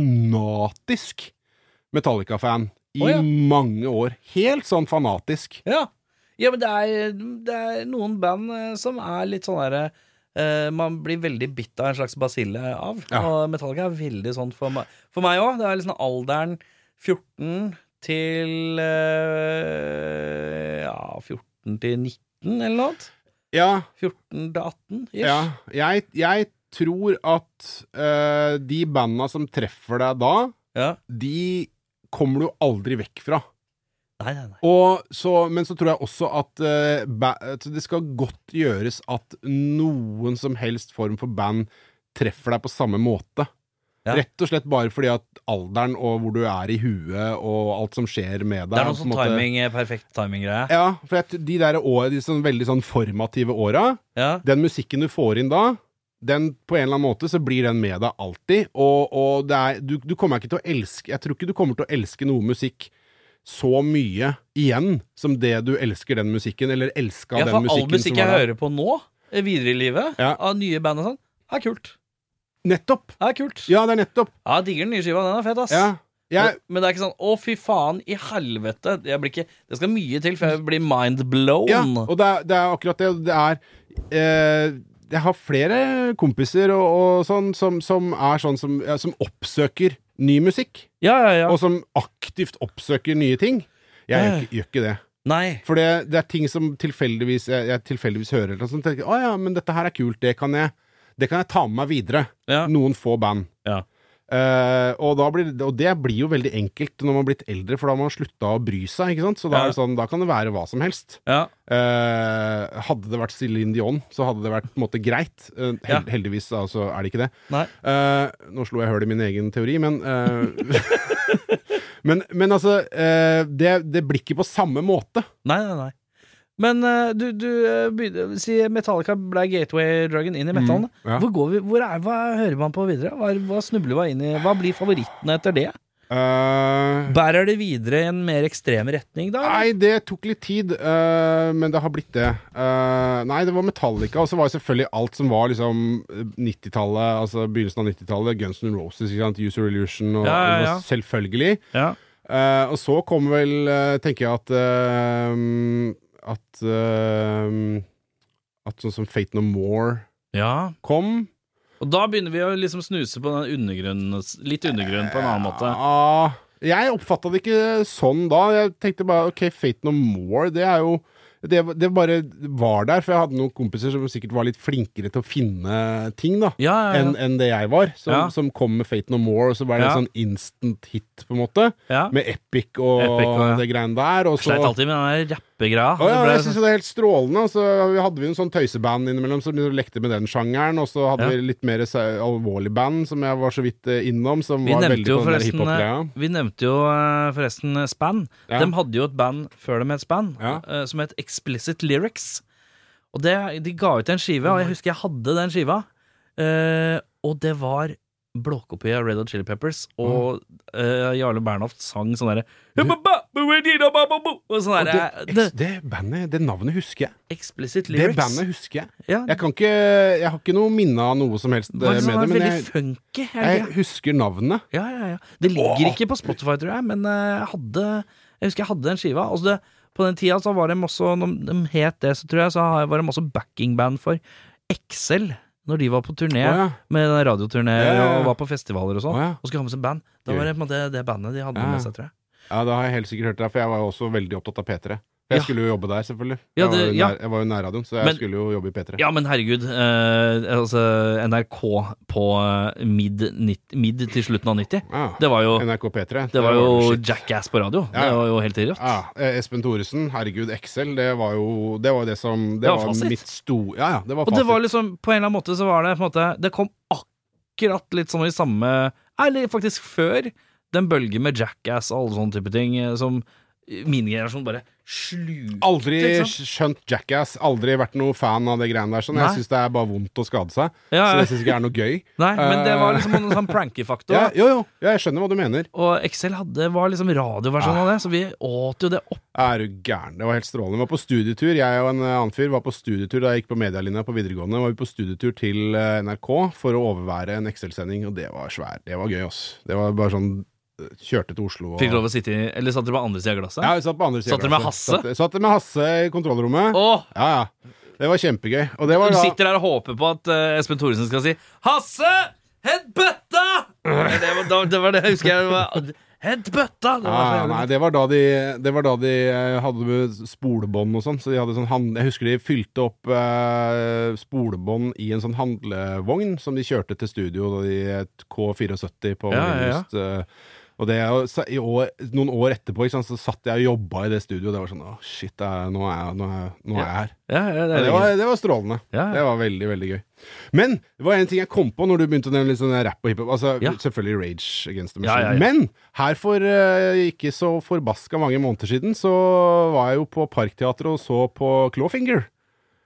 fanatisk Metallica-fan i
Å, ja.
mange år. Helt sånn fanatisk.
Ja, ja men det er, det er noen band eh, som er litt sånn derre eh, man blir veldig bitt av en slags basille av.
Ja.
Og Metallica er veldig sånn for meg For meg òg. Det er liksom alderen 14 til eh, Ja, 14 til 19, eller noe annet.
Ja,
14 til 18, ish.
ja. Jeg, jeg tror at eh, de banda som treffer deg da,
Ja.
de kommer du aldri vekk fra.
Nei, nei, nei.
Og så, men så tror jeg også at, eh, ba- at det skal godt gjøres at noen som helst form for band treffer deg på samme måte.
Ja.
Rett og slett bare fordi at alderen og hvor du er i huet og alt som skjer med deg
Det er noe
på en
sånn
måte-
timing, perfekt timing-greie.
Ja, for at de der åra, de sånn veldig sånn formative åra,
Ja.
den musikken du får inn da den, på en eller annen måte så blir den med deg alltid, og, og det er, du, du kommer ikke til å elske Jeg tror ikke du kommer til å elske noe musikk så mye igjen som det du elsker den musikken, eller elska
Ja,
den
for all
musikken
musikk
som
jeg
var der.
hører på nå, eh, videre i livet,
Ja.
av nye band og sånn, er kult.
Nettopp!
Er kult. Ja,
Ja, det er nettopp.
jeg digger den nye skiva. Den er fet, ass.
Ja. Jeg,
Men- Men det er ikke sånn 'Å, fy faen, i helvete'. Jeg blir ikke, det skal mye til før jeg blir mind blown.
ja, og det er, det er akkurat det. Det er eh, Jeg har flere kompiser og, og sånn som, som er sånn som, ja, som oppsøker ny musikk.
ja, ja, ja.
og som aktivt oppsøker nye ting.
Ja,
Jeg
ja.
gjør, ikke- gjør ikke det.
Nei.
For det, det er ting som tilfeldigvis jeg, jeg tilfeldigvis hører, eller noe sånt, tenker å ja, men dette her er kult, det kan jeg, det kan jeg ta med meg videre.
Ja.
Noen få band.
Ja.
Eh, og, da blir, det- og det blir jo veldig enkelt når man har blitt eldre, for da har man slutta å bry seg. Ikke sant? Så da,
Ja.
er det sånn, da kan det være hva som helst.
Ja.
Eh, hadde det vært Céline Dion, så hadde det vært på en måte greit. Eh, hel,
Ja.
Heldigvis altså, er det ikke det.
Nei.
Eh, nå slo jeg høl i min egen teori, men eh, men, men altså, eh, det, det blir ikke på samme måte.
Nei, nei, nei. Men eh, du, du eh, begynner, si Metallica ble gateway-drugen inn i metallen.
Mm, ja.
Hvor går vi, hvor er, hva hører man på videre? Hva, er- hva snubler man inn i? Hva blir favorittene etter det?
Eh,
Bærer det videre i en mer ekstrem retning, da? eller?
nei, det tok litt tid, eh, men det har blitt det. Eh, nei, det var Metallica, og så var det selvfølgelig alt som var liksom 90-tallet, altså begynnelsen av 90-tallet, Guns N' Roses, ikke sant, User Illusion, og,
Ja, ja,
og
ja.
selvfølgelig.
Ja.
Eh, og så kommer vel, eh, tenker jeg at eh, At eh, At sånn som Fate No More
ja.
kom.
Og da begynner vi å liksom snuse på den undergrunnen, litt undergrunn på en annen måte.
Ja, jeg oppfatta det ikke sånn da. Jeg tenkte bare OK, Fate No More, det er jo det, det bare var der, for jeg hadde noen kompiser som sikkert var litt flinkere til å finne ting, da.
Ja, ja,
Enn
ja.
enn det jeg var, som,
Ja.
som kom med Fate No More, og så var det
Ja.
en sånn instant hit, på en måte.
ja.
Med Epic og,
Epic og, ja.
det greiene der. Og så,
Sleit alltid med den der rappegreia.
Å,
Det ble
ja,
sånn-
jeg syns det er helt strålende. Og så hadde vi en sånn tøyseband innimellom som lekte med den sjangeren. Og så hadde
Ja.
vi litt mer sa- alvorlig band som jeg var så vidt eh, innom, som
Vi
var
nevnte,
veldig
jo
på den der
forresten,
hiphop-greia.
eh, vi nevnte jo eh, forresten eh, Span.
Ja.
De hadde jo et band før dem het Span,
Ja.
eh, som het Explicit Lyrics. Og det, De ga ut en skive, og jeg husker jeg hadde den skiva. Eh, og det var blåkopi av Red Hot Chili Peppers, og eh, Jarle Bernhoft sang sånn derre Og sånn
Og det,
derre
eks- det bandet, det navnet husker jeg.
Explicit
Det
Lyrics.
bandet husker jeg.
ja,
Jeg kan ikke Jeg har ikke noe minne av noe som helst eh,
var
med
liksom,
det, men
veldig
jeg,
funky. er det
jeg
ikke?
husker navnet.
Ja, ja, ja. Det ligger
Åh.
ikke på Spotify, tror jeg, men eh, jeg hadde Jeg husker jeg hadde den skiva. Altså det, på den tida så var de også Når de het det, så tror jeg, så har- var de også backingband for Excel. Når de var på turné,
Å, ja.
med radioturné
Ja, ja, ja.
og var på festivaler og sånn,
Å, ja.
og skulle ha med seg band. Da var det på en måte det bandet de hadde
Ja.
med seg, tror jeg.
Ja, det har jeg helt sikkert hørt det, for jeg var jo også veldig opptatt av P3. For
Ja.
jeg skulle jo jobbe der, selvfølgelig.
Ja,
jeg, var
det-
jo
ja.
nær, jeg var jo nærradioen, så jeg
Men-
skulle jo jobbe i P3.
Ja, men herregud. eh, altså, NRK på eh, mid, nitt- mid til slutten av 90,
Ja.
det var jo,
NRK P3.
det var jo
shit.
Jackass på radio.
Ja, ja.
Det var jo helt rått.
Ja, eh, Espen Thoresen, herregud, Excel, det var jo det, var jo det som Det,
Det var
var,
fasit.
mitt sto... Ja, ja, det var
Og
fasit.
det var liksom, på en eller annen måte så var det på en måte Det kom akkurat litt sånn i samme Eller faktisk før den bølgen med Jackass og alle sånne type ting eh, som min generasjon bare slukte.
Aldri
ikke
skjønt Jackass, aldri vært noe fan av det greiene der. Sånn.
sånn. Nei.
Jeg syns det er bare vondt å skade seg.
Ja,
Så
ja.
det syns ikke jeg er noe gøy.
Nei, men det var
Eh.
liksom en sånn pranky-faktor.
Ja,
da.
jo, jo, ja, jeg skjønner hva du mener.
Og Excel hadde, var liksom radioversjonen av det, så vi åt jo det opp.
Er du gæren? Det var helt strålende. Vi var på studietur. Jeg og en eh, annen fyr var på studietur da jeg gikk på medielinja på videregående. Var vi på studietur til eh, NRK for å overvære en Excel-sending, og det var svær. Det var gøy, ass. Det var bare sånn eh, Kjørte til Oslo og
Fikk lov å sitte i Eller satt dere på andre sida av glasset?
Ja, vi satt på andre siden
Satt dere med
av glasset.
Hasse?
Satt, satt dere med Hasse i kontrollrommet.
Åh,
Ja, ja. Det var kjempegøy. Og det var
du
da
sitter her og håper på at eh, Espen Thoresen skal si 'Hasse, hent bøtta!' Men Det var, da, det var det jeg husker. Jeg var, hent bøtta! Det var så
ja,
jævlig
Ah, nei, det var da de, det var da de eh, hadde spolebånd og sånn. Så de hadde sånn hand, Jeg husker de fylte opp eh, spolebånd i en sånn handlevogn som de kjørte til studio da de K74 på
Ja, ja, ja.
Marienlyst, eh, Og det er jo, så, i år, noen år etterpå ikke sant, så satt jeg og jobba i det studioet, og det var sånn Å, shit, det er, nå, er, jeg- nå, er, jeg- nå er jeg her.
Ja, ja, det
Ja,
er
det,
jo
var, det var strålende.
Ja, ja.
Det var veldig, veldig gøy. Men det var en ting jeg kom på når du begynte å nevne litt sånn rap og hiphop. Altså,
Ja.
Selvfølgelig Rage Against
Ja,
the Machine.
ja, ja.
Men her for eh, ikke så forbaska mange måneder siden så var jeg jo på Parkteatret og så på Clawfinger.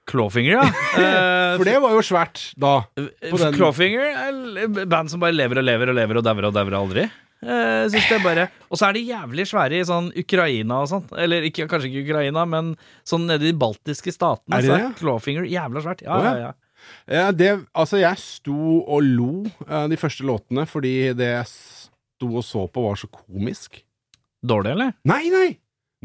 Clawfinger, ja. Eh,
For det var jo svært da. på den-
Clawfinger er l- band som bare lever og lever og lever og dauer og dauer aldri. Eh, synes det er bare Og så er de jævlig svære i sånn Ukraina og sånn. Eller ikke, kanskje ikke Ukraina, men sånn nede i de baltiske statene.
Er det
så
det, ja?
Clawfinger jævla svært. Ja,
Å, ja.
ja, ja.
Ja, det, altså, jeg sto og lo eh, de første låtene fordi det jeg sto og så på, var så komisk.
Dårlig, eller?
Nei, nei!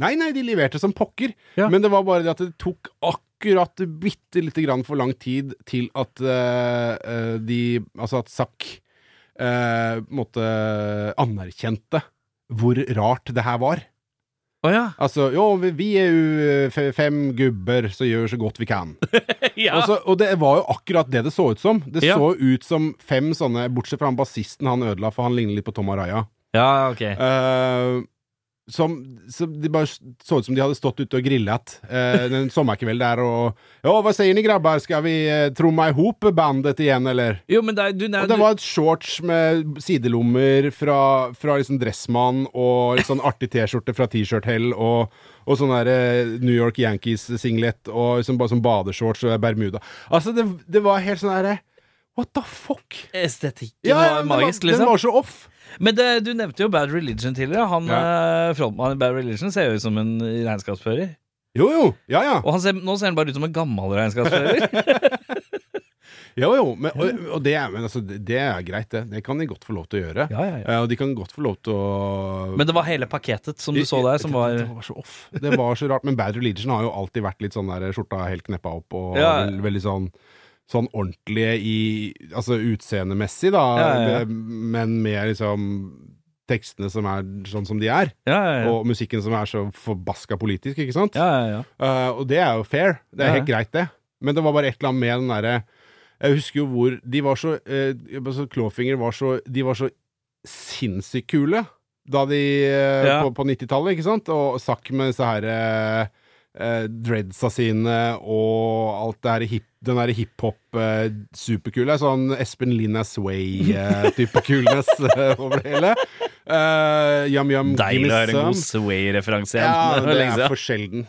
Nei, nei, de leverte som pokker.
Ja.
Men det var bare det at det tok akkurat bitte lite grann for lang tid til at eh, eh, de Altså at Zack eh, på en måte anerkjente hvor rart det her var.
Å ja.
Altså, jo, vi, vi er jo eh, fem gubber som gjør så godt vi kan.
ja.
Og, så, og det var jo akkurat det det så ut som. Det
Ja.
så ut som fem sånne, bortsett fra han bassisten han ødela, for han ligner litt på Tom Araya.
ja, ok.
Eh, som, som De bare så ut som de hadde stått ute og grillet eh, en sommerkveld der og Ja, hva sier ni, grabber? Skal vi eh, tromme i hop bandet igjen, eller?
Jo, men det er, du, nei,
Og det
du-
var et shorts med sidelommer fra, fra liksom Dressmann og litt sånn artig T-skjorte fra T-shirt Hell og, og sånn der eh, New York Yankees-singlet og liksom bare sånn badeshorts og bermuda. Altså, det, det var helt sånn derre What the fuck?
Estetikken
Ja, ja,
var
den
magisk,
var, den
liksom.
var så off.
Men det, du nevnte jo Bad Religion tidligere. Han eh, frontmannen i Bad Religion ser jo ut som en regnskapsfører.
Jo, jo. Ja, ja.
Og han ser, nå ser han bare ut som en gammel regnskapsfører.
Jo, jo. Men, og, og det, er- men altså, det det er greit, det. Det kan de godt få lov til å gjøre.
ja, ja, ja.
Eh, Og de kan godt få lov til å
Men det var hele pakketet som du så der, som var
Det var så off. Det var så rart. Men Bad Religion har jo alltid vært litt sånn der skjorta helt kneppa opp, og
Ja.
vel- veldig sånn Sånn ordentlige i Altså utseendemessig, da,
Ja, ja, ja.
det- men med liksom tekstene som er sånn som de er,
Ja, ja, ja.
og musikken som er så forbaska politisk, ikke sant?
ja, ja, ja.
Eh, og det er jo fair. Det er
Ja.
helt greit, det. Men det var bare et eller annet med den derre Jeg husker jo hvor De var så eh, altså, Clawfinger var så De var så sinnssykt kule da de eh,
Ja.
På, på 90-tallet, ikke sant? Og Zack med disse her eh, eh, dreadsa sine og alt det her hip, den derre hiphop-superkule. sånn Espen Linas Way-type kulness eh, over det hele. Eh, Yum Yum
Deilig å
gimme
høre en
some.
god Sway-referanse igjen.
Ja,
var
det
lenge
er
siden.
for sjelden.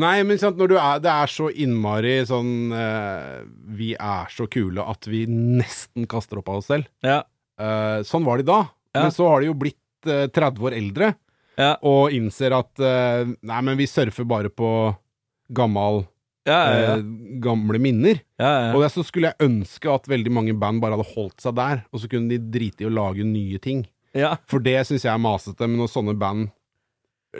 Nei, men sant, når du er, det er så innmari sånn eh, Vi er så kule at vi nesten kaster opp av oss selv.
ja.
Eh, sånn var de da.
Ja.
Men så har de jo blitt eh, 30 år eldre
Ja.
og innser at eh, Nei, men vi surfer bare på gammal,
Ja, ja, ja.
eh, gamle minner.
ja, ja.
Og det, så skulle jeg ønske at veldig mange band bare hadde holdt seg der, og så kunne de drite i å lage nye ting.
ja.
For det syns jeg er masete, men når sånne band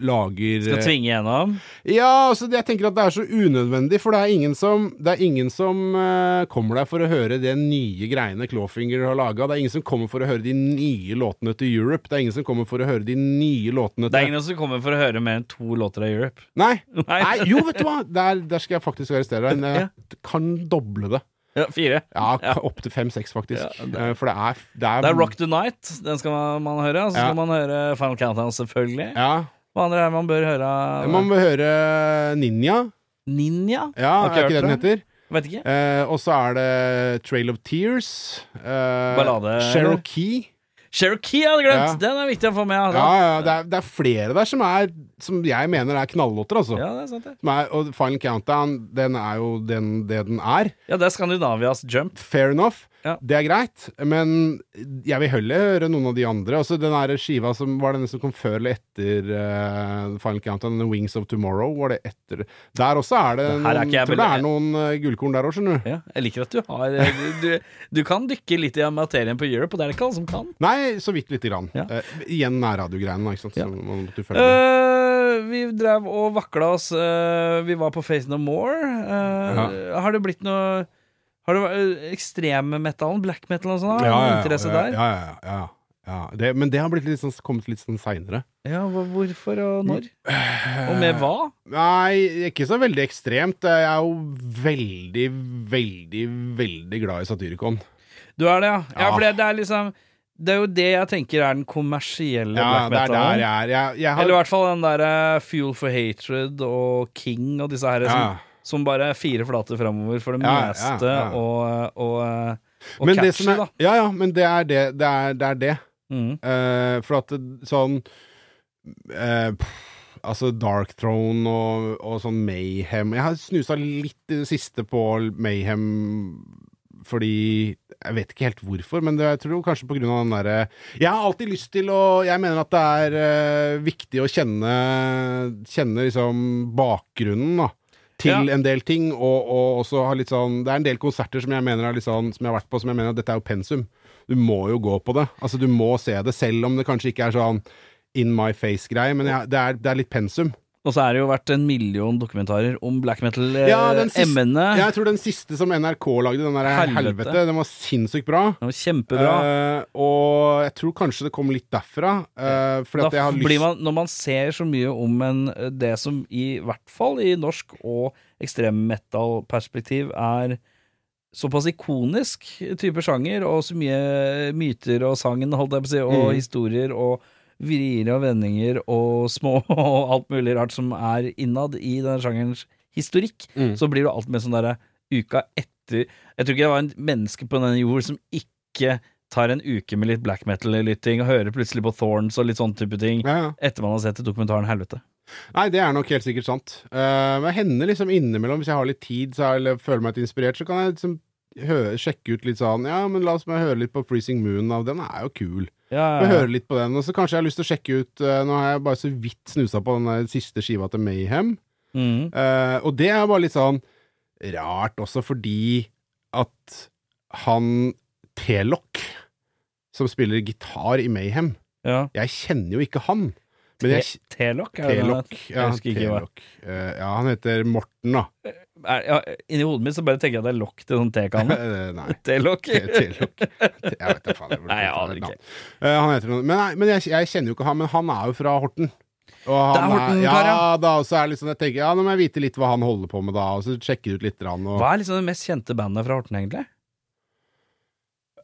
lager
Skal
eh,
tvinge gjennom.
ja, altså jeg tenker at det er så unødvendig, for det er ingen som, det er ingen som eh, kommer der for å høre det nye greiene Clawfinger har laga. Det er ingen som kommer for å høre de nye låtene til Europe. Det er ingen som kommer for å høre de nye låtene
Det er
til
ingen som kommer for å høre mer enn to låter av Europe.
Nei!
Nei.
Nei, jo, vet du hva! Der, der skal jeg faktisk arrestere deg. men Jeg kan doble det.
Ja, fire.
Ja,
Ja.
opptil fem-seks, faktisk.
Ja, det-
Eh, for det er, det er
Det er Rock the Night. Den skal man, man høre. Og så
Ja.
skal man høre Final Countdown, selvfølgelig.
Ja.
Hva andre er det man bør høre?
Man vil høre Ninja.
Ninja?
Ja,
Har ikke
er
hørt
ikke det den
det.
heter?
Vet ikke.
Eh, og så er det Trail of Tears. Eh,
Ballade, eller?
Cherokee.
Cherokee hadde jeg glemt!
Ja.
Den er viktig å få med.
Ja,
Altså.
ja, det er, det er flere der som, er, som jeg mener er knallåter, altså.
Ja, det er sant, det.
Som er, og Final Countdown, den er jo den, det den er.
Ja, det er Skandinavias jump.
Fair enough.
Ja.
Det er greit, men jeg vil heller høre noen av de andre. Altså, den her skiva som var den som kom før eller etter eh, Final Countdown, denne Wings of Tomorrow, var det etter Der også er det
Det her er ikke jeg
noen, tror det
veldig-
er noen eh, gullkorn der òg, skjønner du.
Ja, jeg liker at du har eh, du, du, du kan dykke litt i materien på Europe, og det er det ikke alle som kan.
Nei, så vidt lite grann.
Ja.
Eh, igjen nærradiogreiene, da, ikke sant.
Ja.
Så man måtte jo følge med.
Eh, vi drev og vakla oss. eh, vi var på Face No More. Eh, Har det blitt noe Har det vært ekstremmetallen, black metal og sånn? har du noe interesse
ja,
der?
Ja, ja, ja, ja. Ja, det, men det har blitt litt sånn, kommet litt sånn seinere.
Ja, hva- hvorfor og når? Og med hva?
Nei, ikke så veldig ekstremt. Jeg er jo veldig, veldig, veldig glad i Satyricon.
Du er det, ja? Ja,
Ja.
for det, det er liksom Det er jo det jeg tenker er den kommersielle
Ja,
black
det er der
metal.
jeg er. Jeg, jeg har,
Eller i hvert fall den der eh, Fuel for Hatred og King og disse her
Ja.
som, som bare er fire flater framover for det
Ja, ja,
meste,
ja.
og, og, eh, og
men
catchy,
det som er,
da.
Ja, ja, men det er det. Det er det. Er det.
Mm.
Eh, for at det- sånn eh, pff, Altså Dark Throne og, og sånn Mayhem Jeg har snusa litt i det siste på Mayhem fordi Jeg vet ikke helt hvorfor, men det, jeg tror kanskje på grunn av den derre Jeg har alltid lyst til å Jeg mener at det er eh, viktig å kjenne Kjenne liksom bakgrunnen, da. Til
Ja.
en del ting, og, og også ha litt sånn Det er en del konserter som jeg mener er litt sånn Som jeg har vært på, som jeg mener at dette er jo pensum. Du må jo gå på det. Altså, du må se det, selv om det kanskje ikke er sånn in my face-greie, men jeg, det, er, det er litt pensum.
Og så er det jo vært en million dokumentarer om black eh,
Ja, den siste-
metal-emnet.
Jeg tror den siste som NRK lagde, den der Helvete,
E. Helvete.
den var sinnssykt bra.
det var kjempebra.
Eh, og jeg tror kanskje det kom litt derfra. eh, fordi at jeg
da
har lyst
blir man, når man ser så mye om en, eh, det som i hvert fall i norsk og ekstremmetal-perspektiv er såpass ikonisk type sjanger, og så mye myter og sangen, holdt jeg på å si, og
Mm.
historier og vrier og vendinger og små og alt mulig rart som er innad i den sjangerens historikk,
Mm.
så blir du alltid med sånn derre uka etter Jeg tror ikke det var en menneske på denne jord som ikke tar en uke med litt black metal-lytting og hører plutselig på Thorns og litt sånn type ting
ja, ja.
etter man har sett dokumentaren Helvete.
Nei, det er nok helt sikkert sant. Eh, men hender liksom innimellom, hvis jeg har litt tid så er, eller føler meg litt inspirert, så kan jeg liksom hø- sjekke ut litt sånn Ja, men la oss meg høre litt på Freezing Moon. Av, den er jo kul.
Ja,
Vi hører litt på den. Og så kanskje jeg har lyst til å sjekke ut eh, Nå har jeg bare så vidt snusa på den der siste skiva til Mayhem.
Mm.
Eh, og det er bare litt sånn rart også, fordi at han Telok, som spiller gitar i Mayhem
ja.
Jeg kjenner jo ikke han. Men jeg
Te- Telok? er det den
Telok.
heter?
Ja,
Jeg husker ikke hva.
Telok. Eh, ja, han heter Morten, da.
Er- ja, Inni hodet mitt så bare tenker jeg at det er lokk til sånn tekanne.
Eh, nei.
Telok.
Te- Telok. Te- Jeg vet da faen. jeg burde
Nei, jeg
ta
aner
et
ikke.
navn. Eh, han heter noe Men, nei, men jeg, jeg kjenner jo ikke han, men han er jo fra Horten. Og
Det er Horten, kar,
ja.
ja.
Da, og så er det liksom, jeg tenker, ja, nå må jeg vite litt hva han holder på med, da. Og så sjekker jeg ut litt. grann, Og,
Hva er liksom det mest kjente bandet fra Horten, egentlig?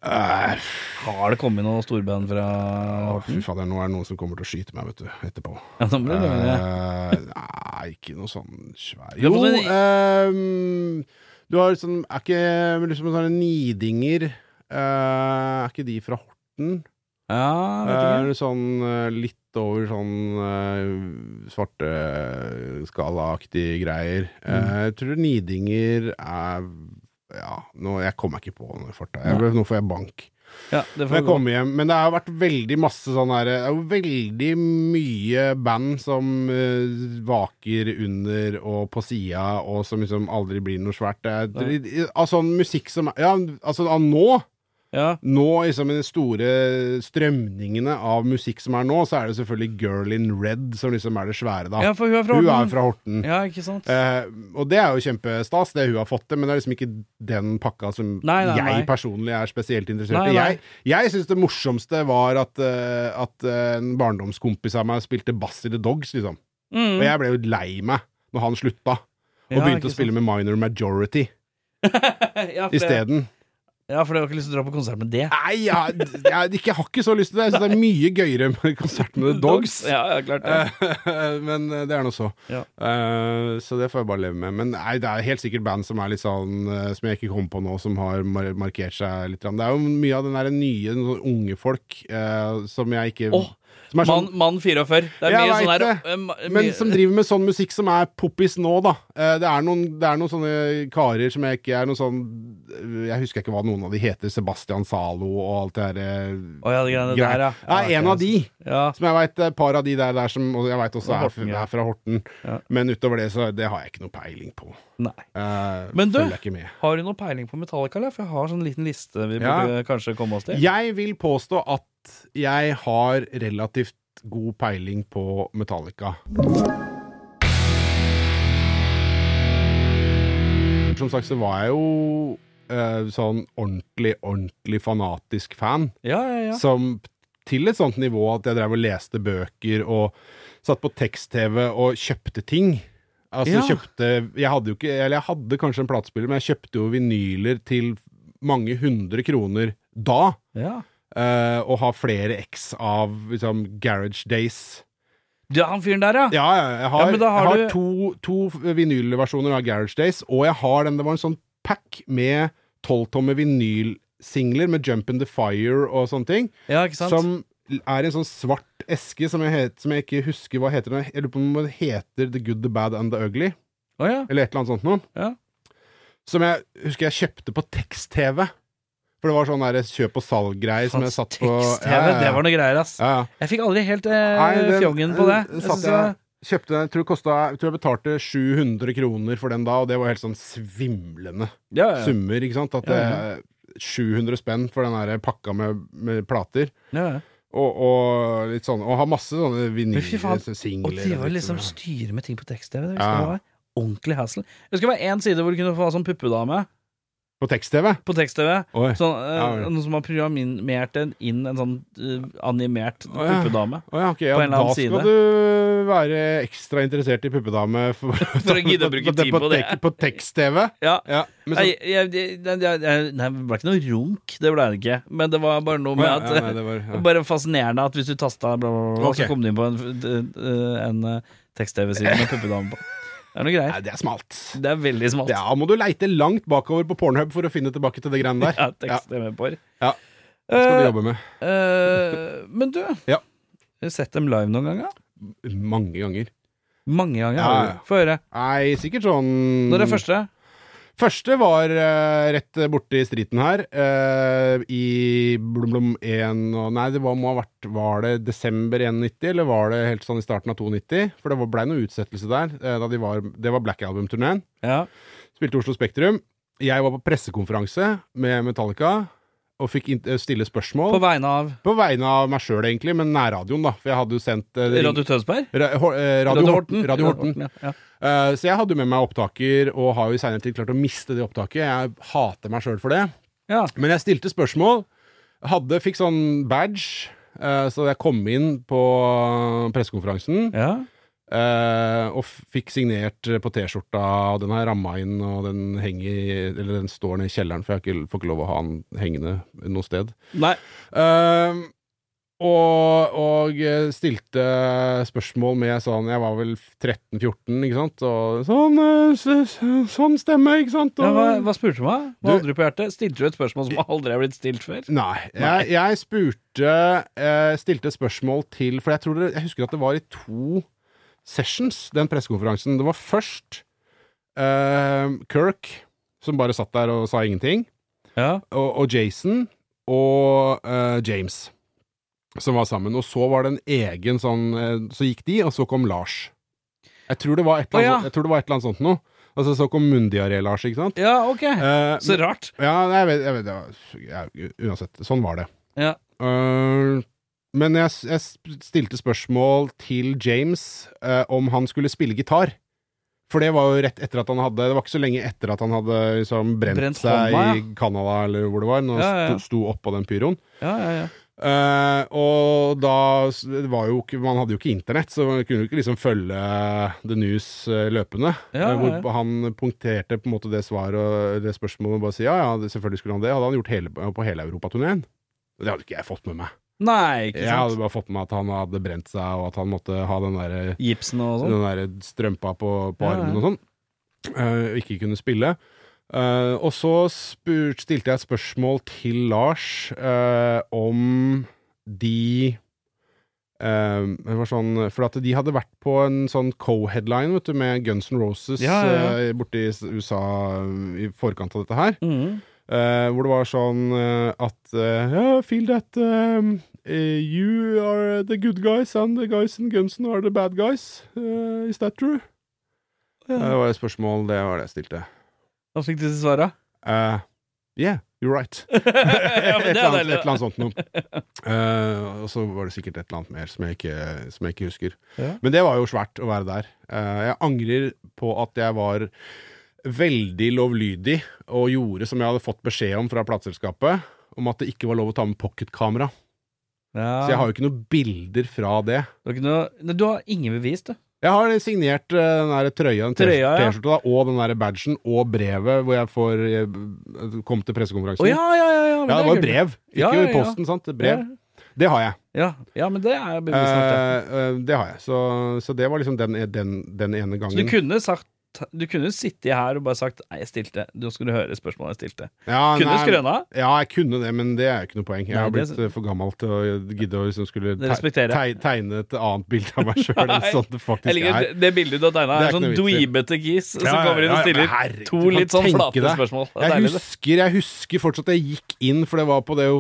Eh,
Har det kommet noen storband fra
å, fy
Horten?
fader, nå er det noen som kommer til å skyte meg, vet du, etterpå.
mm. Ja, nå blir det det.
Eh, nei, ikke noe sånn svær
Du har
Jo,
fått en-
ehm, du har sånn Er ikke liksom sånne nidinger eh, Er ikke de fra Horten?
Ja, vet ikke.
Er det sånn eh, litt over sånn eh, svarteskalaaktige greier.
Mm.
Eh, jeg tror nidinger er Ja, nå, jeg kom meg ikke på den farta. Jeg, nå får jeg bank.
Ja, det
Når
får
jeg
gå.
kommer hjem. Men det har vært veldig masse sånn her Det er jo veldig mye band som eh, vaker under og på sida, og som liksom aldri blir noe svært. Det er, av sånn musikk som Ja, altså av nå
Ja.
nå, liksom i de store strømningene av musikk som er nå, så er det selvfølgelig Girl in Red som liksom er det svære, da.
ja, for hun er fra
hun
Horten.
er fra Horten.
Ja, ikke sant?
Eh, og det er jo kjempestas, det hun har fått til, men det er liksom ikke den pakka som
Nei, nei,
jeg
nei.
personlig er spesielt interessert
Nei,
i.
nei.
Jeg, jeg syns det morsomste var at, eh, at eh, en barndomskompis av meg spilte bass i The Dogs, liksom.
Mm.
Og jeg ble jo lei meg når han slutta, og
Ja,
begynte
ikke Eh,
å spille med minor majority
ja, for det-
isteden.
Ja, for du har ikke lyst til å dra på konsert med det.
Nei, jeg, jeg, ikke- har ikke så lyst til det. Jeg synes det er mye gøyere med konsert med The Dogs.
Ja, ja, klart det.
Eh, Men eh, det er nå så.
Ja.
Eh, Så det får jeg bare leve med. Men nei, det er helt sikkert band som er litt sånn eh, Som jeg ikke kom på nå, som har mar markert seg litt. grann. Det er jo mye av den der nye sånn unge folk eh, som jeg ikke
Åh,
som er sånn,
Mann mann 44. Det er
Jeg
mye
vet
sånn der
det.
eh, ma-
men
mye-
som driver med sånn musikk som er poppis nå, da. Eh, Det er, noen, det er noen sånne karer som jeg ikke er noe sånn Jeg husker ikke hva noen av de heter. Sebastian Zalo og alt det her eh,
Å ja, det greiene der, ja. Ah,
Ja, en av de.
Ja.
Som jeg veit et par av de der, der som og jeg vet også
Fra
er,
Horten, ja.
er fra Horten.
Ja.
Men utover det, så det har jeg ikke noe peiling på.
Nei.
Eh,
Men du-
Følger jeg ikke med.
Har du noe peiling på Metallica, eller? For jeg har sånn liten liste vi
Ja.
burde kanskje komme oss til.
Jeg vil påstå at jeg har relativt god peiling på Metallica. Som sagt så var jeg jo eh, sånn ordentlig, ordentlig fanatisk fan.
Ja, ja, ja.
som til et sånt nivå at jeg drev og leste bøker og satt på tekst-TV og kjøpte ting. Altså
Ja.
kjøpte Jeg hadde jo ikke Eller jeg hadde kanskje en platespiller, men jeg kjøpte jo vinyler til mange hundre kroner da.
ja.
eh, og har flere X av liksom, garage days.
Du, han fyren der, ja.
Ja, ja, jeg har,
Ja, men da har
jeg
du-
har to, to vinylversjoner av Garage Days, og jeg har den, det var en sånn pack med 12-tomme vinylsingler med Jump in the Fire og sånne ting,
Ja, ikke sant?
som er en sånn svart eske som jeg, het, som jeg ikke husker hva heter. Jeg lurer på om det heter The Good, The Bad and The Ugly,
Å ja.
eller et eller annet sånt noe.
Ja.
Som jeg husker jeg kjøpte på tekst-TV. For det var sånn der kjøp og salg-greier som jeg satt på.
Tekst-TV, det var noe greier, ass.
ja, ja.
Jeg fikk aldri helt eh,
Nei, den-
fjongen på det.
den
Jeg
satt
synes
jeg,
det-
kjøpte, den, jeg, tror det kosta, jeg tror jeg betalte 700 kroner for den da, og det var helt sånn svimlende
ja, ja.
summer. ikke sant? At det, er 700 spenn for den der pakka med, med plater.
ja, ja.
Og, og litt sånn, og har masse sånne
Men fy faen, Og
vinylsingler.
det var liksom styre med ting på tekst-TV. Det husker
Ja.
jeg var Ordentlig hassle. Jeg husker det var én side hvor du kunne få ha sånn puppedame
På tekst-TV?
på tekst-TV.
Oi.
Sånn, eh,
Ja, vel.
Noen som har programmert en, inn en sånn eh, animert
Å, ja.
puppedame.
Å ja, ok, ja,
På en eller annen
da
side.
skal du være ekstra interessert i puppedame for,
For å gidde å bruke tid på det.
tek- På tekst-TV.
Ja.
Ja, men så-
Nei, jeg, jeg, jeg, jeg, nei, det ble ikke noe runk, det ble det ikke. Men det var bare noe med
Å, ja,
at
ja, nei, det var, ja.
Det var Bare fascinerende at hvis du tasta bla, bla, bla,
Ok.
så kom du inn på en, eh, en eh, tekst-TV-side med puppedame på. Det er noe greier.
Nei, det er smalt.
Det er veldig smalt.
Ja, må du leite langt bakover på Pornhub for å finne tilbake til det greiene der.
Ja, tekst-TV-par.
Ja. Det skal du jobbe med.
Eh, men du,
Ja.
har du sett dem live noen ganger?
Mange ganger.
Mange ganger.
Ja,
har
ja.
du. Få høre.
Nei, sikkert sånn
Når er første?
Første var eh, rett borti striten her, eh, i blom blom 1 og Nei, det var, må ha vært Var det desember 91, eller var det helt sånn i starten av 92? For det var- blei noe utsettelse der. eh, da de var, det var Black Album-turneen.
Ja.
Spilte Oslo Spektrum. Jeg var på pressekonferanse med Metallica og fikk in- stille spørsmål.
På vegne av
På vegne av meg sjøl, egentlig, men nærradioen, da. For jeg hadde jo sendt eh, ring-
Radio Tønsberg?
Ra- Hor- eh, Radio, Horten. Radio Horten.
ja. Ja.
Eh, så jeg hadde jo med meg opptaker, og har jo i seinere tid klart å miste det opptaket. Jeg hater meg sjøl for det.
ja.
Men jeg stilte spørsmål. Hadde, fikk sånn badge, eh, så jeg kom inn på pressekonferansen
ja.
eh, og f- fikk signert på T-skjorta, og den har jeg ramma inn, og den henger i- Eller den står nede i kjelleren, for jeg har ikke, får ikke lov å ha den hengende noe sted.
Nei.
Ehm, og, og eh, stilte spørsmål med sånn Jeg var vel 13-14, ikke sant? Og sånn, eh, så- så- sånn stemme, ikke sant? Og,
Ja, hva, hva spurte du meg?
Du-
Hva hadde du på hjertet? Stilte du et spørsmål som aldri er blitt stilt før?
Nei. Jeg, jeg spurte eh, Stilte spørsmål til For jeg, tror det, jeg husker at det var i to sessions, den pressekonferansen. Det var først ehm, Kirk, som bare satt der og sa ingenting.
Ja.
og, og Jason og eh, James som var sammen. Og så var det en egen sånn eh, Så gikk de, og så kom Lars. Jeg tror det var et
Å,
eller
ja.
annet, sånt- jeg tror det var et eller annet sånt noe. Altså, så kom munndiaré-Lars, ikke sant?
ja, ok.
Eh,
Så rart.
ja, nei, jeg vet, jeg vet det var- ja, Uansett, sånn var det.
Ja.
Eh, men jeg, s- jeg s- stilte spørsmål til James eh, om han skulle spille gitar. For det var jo rett etter at han hadde Det var ikke så lenge etter at han hadde liksom brent,
Brent
seg
hånda,
i Canada, eller hvor det var, når han
Ja, ja, ja.
sto, sto oppå den pyroen.
Ja, ja, ja.
Eh, og da s- det var jo ikke Man hadde jo ikke internett, så man kunne jo ikke liksom følge The News eh, løpende.
Ja,
Eh, hvor
ja, ja.
han punkterte på en måte det svaret og det spørsmålet og bare si ja, ja, det- selvfølgelig skulle han det. Hadde han gjort hele, på hele europaturneen. Det hadde ikke jeg fått med meg.
Nei, ikke
Jeg hadde
sant.
bare fått med meg at han hadde brent seg, og at han måtte ha den der,
Gipsen og sånn.
den der strømpa på, på
Ja, ja.
armen og sånn. Eh, og ikke kunne spille. Eh, og så spur, stilte jeg et spørsmål til Lars eh, om de eh, Det var sånn For at de hadde vært på en sånn co-headline vet du, med Guns N' Roses
Ja, ja, ja.
eh, borte i s- USA eh, i forkant av dette her.
Mhm.
Eh, hvor det var sånn eh, at eh, yeah, I feel that um, eh, you are the good guys and the guys in Gunsen are the bad guys. Eh, is that true? Eh, Det var et spørsmål, det var det jeg stilte.
Da fikk du disse svara.
Eh, yeah, you're right.
ja, men det er
et, eller annet, et
deilig.
eller annet sånt noe. Eh, og så var det sikkert et eller annet mer som jeg ikke, som jeg ikke husker.
Ja.
Men det var jo svært å være der. Eh, jeg angrer på at jeg var veldig lovlydig og gjorde som jeg hadde fått beskjed om fra plateselskapet, om at det ikke var lov å ta med pocketkamera.
Ja.
Så jeg har jo ikke noen bilder fra det.
Du har, ikke noe, nei, du har ingen bevis, du.
Jeg har signert eh, den der trøya, den
Trøya, ja.
T-skjorta, da, og den der badgen og brevet hvor jeg får eh, kom til pressekonferansen.
Å ja, ja, ja, ja, men
Ja, det
er
var
kult.
brev. Ikke
Ja, ja,
i
ja.
posten, sant? Brev. Det har jeg.
Ja, ja, men det er beviselig. det.
Eh, eh, det har jeg. Så, så det var liksom den, den, den
Så
ene
du
gangen.
kunne sagt Du kunne sittet her og bare sagt Nei, jeg stilte. Du skulle høre spørsmålet jeg stilte.
Ja,
Kunne
nei,
skrøna.
Ja, jeg kunne det, men det er jo ikke noe poeng. Jeg
Nei,
har
det-
blitt eh, for gammel til å gidde å liksom skulle
Det
te
respekterer
teg- tegne et annet bilde av meg sjøl enn
Nei.
sånn det
Jeg
faktisk
liker
er.
det- det bildet du har tegna.
Det er
En sånn
ikke noe vits i.
dweebete gis som
Ja, ja,
kommer inn og
ja,
stiller
men herregud,
to
du kan
litt sånn
tenke
flate
deg.
spørsmål. Det er
Jeg
deilig, det.
husker, jeg husker fortsatt jeg gikk inn, for det var på det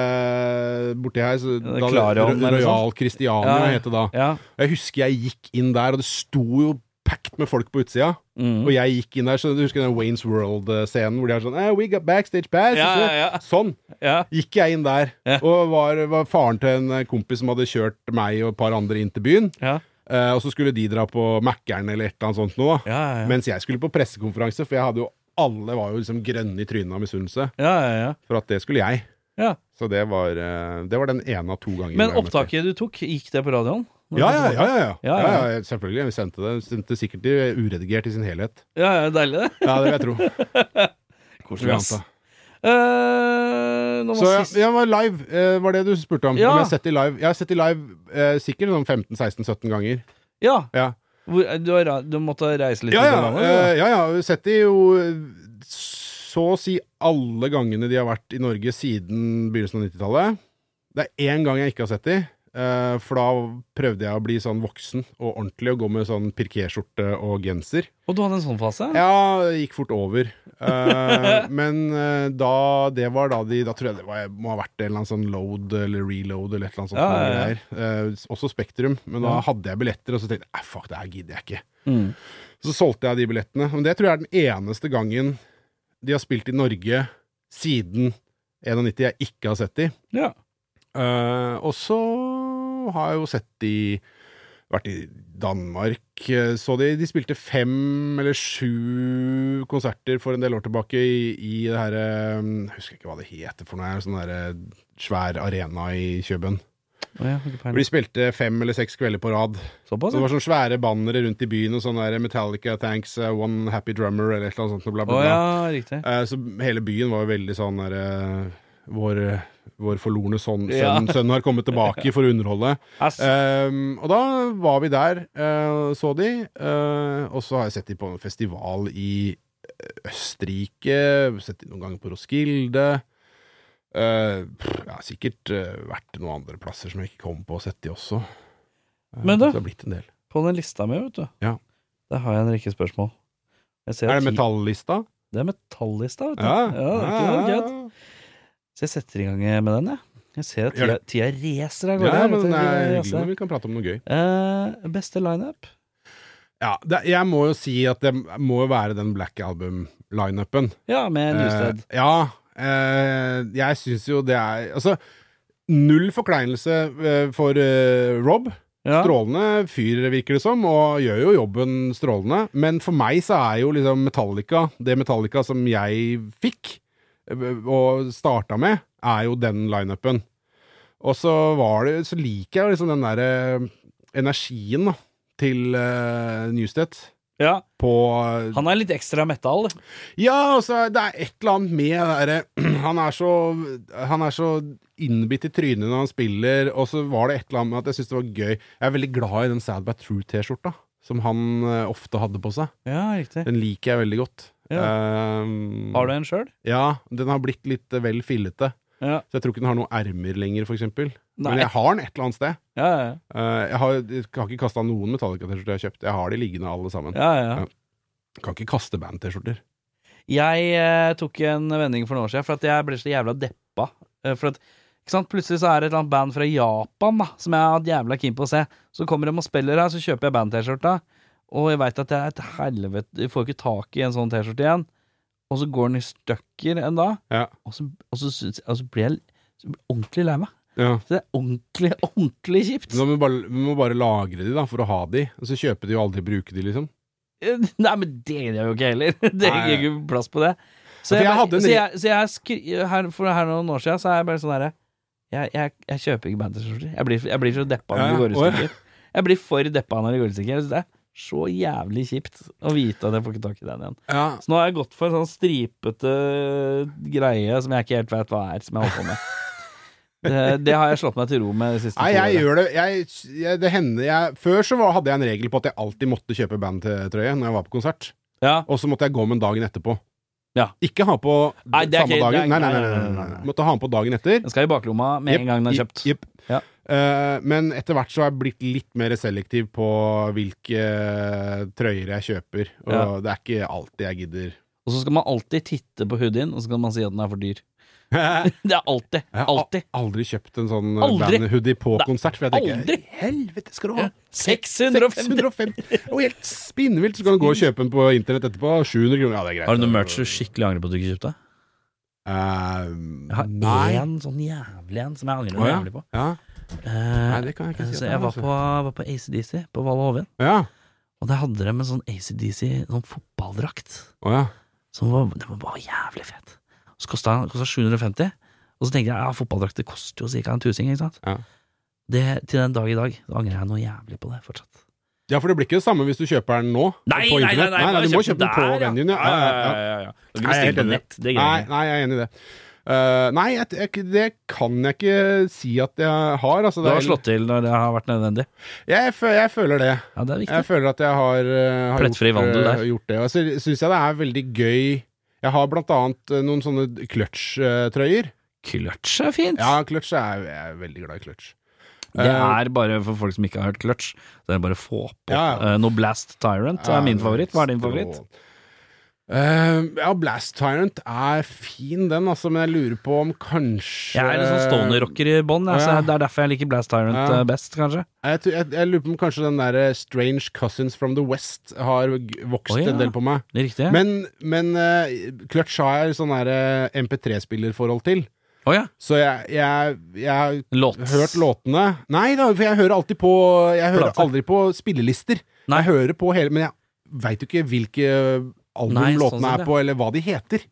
hotellet borti her. Så
det
da-
Clarion
Ro-
eller
Royal Christiania
Ja.
het det da.
Ja.
Jeg husker jeg gikk inn der, og det sto jo packed med folk på utsida.
Mm.
Og jeg gikk inn der, så du husker den Waynes World-scenen hvor de er sånn eh, We got backstage pass.
Ja,
og så-
ja, ja.
Sånn
ja.
gikk jeg inn der,
Ja.
og var, var faren til en eh, kompis som hadde kjørt meg og et par andre inn til byen.
Ja.
Eh, og så skulle de dra på Mækkern eller et eller annet sånt nå, da.
Ja, ja, ja.
Mens jeg skulle på pressekonferanse, for jeg hadde jo alle var jo liksom grønne i trynet av misunnelse
ja, ja, ja.
for at det skulle jeg.
ja.
Så det var, eh, det var den ene av to ganger.
Men
jeg møtte.
opptaket du tok, gikk det på radioen?
Ja ja ja, ja, ja.
Ja,
ja,
ja.
ja, Selvfølgelig. Vi sendte det. Sendte sikkert det uredigert i sin helhet.
Ja, ja, deilig, det.
Ja, det vil jeg tro.
Koselig,
Vil jeg
ass.
anta.
Eh, nå var
Så ja,
sist
ja, det var live, eh, var det du spurte om.
Ja.
Om jeg har sett de live. Jeg har sett de live eh, sikkert sånn 15-16-17 ganger.
Ja.
Ja.
Hvor, du, har, ra- du måtte reise litt?
Ja
ut
ja,
av landet,
eh,
eller?
ja, ja. Vi har Sett de jo eh, så å si alle gangene de har vært i Norge siden begynnelsen av 90-tallet. Det er én gang jeg ikke har sett de. eh, For da prøvde jeg å bli sånn voksen og ordentlig og gå med sånn pirkéskjorte og genser.
Og du hadde en sånn fase?
Ja, det gikk fort over. Eh, men eh, da det var da de Da tror jeg det var, må ha vært en eller annen sånn load eller reload eller et eller annet sånt.
Ja,
noe
ja, ja.
greier. Eh, også Spektrum. Men da hadde jeg billetter, og så tenkte jeg "Nei, fuck, det her gidder jeg ikke.
Mm.
Så solgte jeg de billettene. Men det tror jeg er den eneste gangen de har spilt i Norge siden 91 jeg ikke har sett de.
Ja.
Eh, og så har jeg jo sett de vært i Danmark. eh, Så de, de spilte fem eller sju konserter for en del år tilbake i, i det her eh, Jeg husker ikke hva det heter for noe. Sånn der eh, svær arena i Kjøben.
Å, ja, ikke peiling.
Hvor de spilte fem eller seks kvelder på rad.
Såpass?
Så det var sånne svære bannere rundt i byen og sånn der Metallica, Thanks, eh, One Happy Drummer eller et eller annet sånt. Bla,
Å
bla, bla.
ja, riktig.
Eh, Så hele byen var jo veldig sånn der eh, Vår, vår forlorne sønn,
Ja.
sønn, sønn har kommet tilbake for å underholde.
Ass.
Ehm, og da var vi der, eh, så de. eh, og så har jeg sett de på en festival i eh, Østerrike. Sett de noen ganger på Roskilde. Eh, pff, jeg har sikkert eh, vært til noen andre plasser som jeg ikke kom på og sett de også. Eh,
Men du-
så det har blitt en del.
På den lista mi, vet du,
Ja.
der har jeg en rekke spørsmål. Jeg ser at
Er det
ti-
metallista?
Det er metallista, vet du. det er ikke noe gøy. Så jeg setter i gang med den, jeg. Jeg ser at
Gjør
tida, tida racer av
ja,
gårde.
ja,
her,
men
vet du,
det er
tida
hyggelig
racer.
når vi kan prate om noe gøy.
Eh, beste lineup?
Ja, det, jeg må jo si at det må jo være den Black Album-lineupen.
Ja, med Newsted.
Eh, ja. Eh, jeg syns jo det er Altså, null forkleinelse eh, for eh, Rob.
Ja.
Strålende fyr, virker det som, og gjør jo jobben strålende. Men for meg så er jo liksom Metallica Det Metallica som jeg fikk, eh, og starta med, er jo den lineupen. Og så var det Så liker jeg liksom den derre energien da, til uh, Newstedt
ja.
på
Han er litt ekstra metal.
ja, altså, det er et eller annet med det derre Han er så Han er så innbitt i trynet når han spiller, og så var det et eller annet med at jeg syns det var gøy. Jeg er veldig glad i den Sad But True-T-skjorta som han eh, ofte hadde på seg.
Ja, riktig.
Den liker jeg veldig godt. Eh, Ehm,
Har du en sjøl?
Ja, den har blitt litt eh, vel fillete.
Ja.
Så jeg tror ikke den har noen ermer lenger, for eksempel.
Nei.
Men jeg har den et eller annet sted.
Ja, ja,
Eh, jeg, har, jeg har ikke kasta noen Metallica-T-skjorter jeg har kjøpt. Jeg har de liggende alle sammen.
ja. ja, ja.
Ja. Kan ikke kaste band-T-skjorter.
Jeg eh, tok en vending for noen år siden, for at jeg ble så jævla deppa. Eh, For at, ikke sant? Plutselig så er det et eller annet band fra Japan da, som jeg har hatt jævla keen på å se. Så kommer de og spiller her, så kjøper jeg band-T-skjorta. Og jeg veit at jeg er et helvete Jeg får ikke tak i en sånn T-skjorte igjen. Og så går den i stykker en dag,
Ja.
og så, og så, syns jeg- og så blir jeg så blir jeg ordentlig lei meg.
Ja.
Så det er ordentlig, ordentlig kjipt.
Men Da må vi, bare, vi må bare lagre de da, for å ha de. Og så kjøpe de og aldri bruke de, liksom.
Nei, men det gjør jeg jo ikke heller. Det
Nei.
gir ikke plass på det. Så
For
jeg,
jeg
bare-
hadde en
så
ri-
jeg, så jeg skri, her, for her noen år siden så er jeg bare sånn herre jeg, jeg, jeg kjøper ikke band-T-skjorter. Jeg, blir- jeg blir så deppa når
Ja,
de går i
å ja.
stykker. Jeg blir for deppa når jeg går ut Jeg synes det er så jævlig kjipt å vite at jeg får ikke tak i den igjen.
Ja.
Så nå har jeg gått for en sånn stripete greie som jeg ikke helt vet hva er, som jeg holder på med. Det, det har jeg slått meg til ro med det siste
Nei,
to
jeg
året.
gjør det jeg, jeg, Det hender jeg Før så var, hadde jeg en regel på at jeg alltid måtte kjøpe bandtrøye når jeg var på konsert.
Ja.
Og så måtte jeg gå med den dagen etterpå.
Ja.
Ikke ha på
Nei, det er
samme
ikke- det er-
dagen. Nei, nei, nei,
nei,
nei,
nei,
nei,
nei.
Måtte ha den på dagen etter.
Den skal i baklomma med
Jepp,
en gang den er
jepp,
kjøpt.
jepp.
Ja.
Eh, men etter hvert så har jeg blitt litt mer selektiv på hvilke eh, trøyer jeg kjøper. Og
Ja.
det er ikke alltid jeg gidder.
Og så skal man alltid titte på hoodien, og så kan man si at den er for dyr.
jeg
Det er alltid.
har
Alltid.
al- aldri kjøpt en sånn eh,
Aldri.
bandhoodie på
Nei,
konsert. For jeg tenker
aldri.
Helvete, skal du ha!
650!
650. Og helt spinnvilt! Så kan du gå og kjøpe den på internett etterpå. 700 kroner. Ja, det er greit.
Har du noe merch du skikkelig angrer på at du ikke kjøpte? Jeg
Eh,
har
nei.
én sånn jævlig en som jeg angrer
Å, ja.
jævlig på.
Ja.
Eh,
nei, det kan jeg ikke si. at
så
det
jeg
er,
var
altså.
på, var på ACDC på Valle Hovin,
Ja.
og der hadde de en sånn ACDC sånn fotballdrakt.
Å ja.
Som var, den var bare jævlig fet. Så kosta den kosta 750, og så tenkte jeg ja, fotballdrakter koster jo ca. en tusing, ikke sant.
Ja.
Det, til den dag i dag så angrer jeg noe jævlig på det fortsatt.
ja, for det blir ikke det samme hvis du kjøper den nå. på internett. nei, nei, du må kjøpe den på venuen, ja. Ja, ja, ja.
Du
Nei, jeg er
bestiller
helt
på
enig.
nett, det
Nei,
greier jeg.
nei, jeg er enig i det. Eh, nei, jeg, jeg, det kan jeg ikke si at jeg har. Altså,
Du
det
har
er-
slått til når det har vært nødvendig.
Jeg, fø- jeg føler det.
Ja, det er viktig.
Jeg føler at jeg har, eh, har
Plettfri
gjort,
vandel
eh,
der.
gjort det. Og så syns jeg det er veldig gøy Jeg har blant annet eh, noen sånne clutch-trøyer.
Clutch er fint.
Ja, clutch er jeg er veldig glad i clutch.
Det er bare for folk som ikke har hørt Clutch, så er det bare å få på.
Ja, ja.
Eh, No Blast Tyrant er min favoritt. Hva er din favoritt?
Eh, ja, Blast Tyrant er fin, den, altså, men jeg lurer på om kanskje
Jeg er litt sånn stoner-rocker i bånn, jeg, så
eh, Ja.
det er derfor jeg liker Blast Tyrant
Ja.
eh, best, kanskje.
Jeg, tror- jeg, jeg lurer på om kanskje den der eh, Strange Cousins from the West har g- vokst
Å, ja.
en del på meg.
Det er riktig?
Men, men eh, Clutch har jeg sånn der eh, MP3-spillerforhold til.
Å ja.
Så jeg, jeg, jeg
Låt.
har hørt låtene Nei da, for jeg hører alltid på Jeg hører
Plater.
aldri på spillelister.
Nei.
Jeg hører på hele Men jeg veit jo ikke hvilke album
Nei, sånn
låtene
sett,
er
ja.
på, eller hva de heter.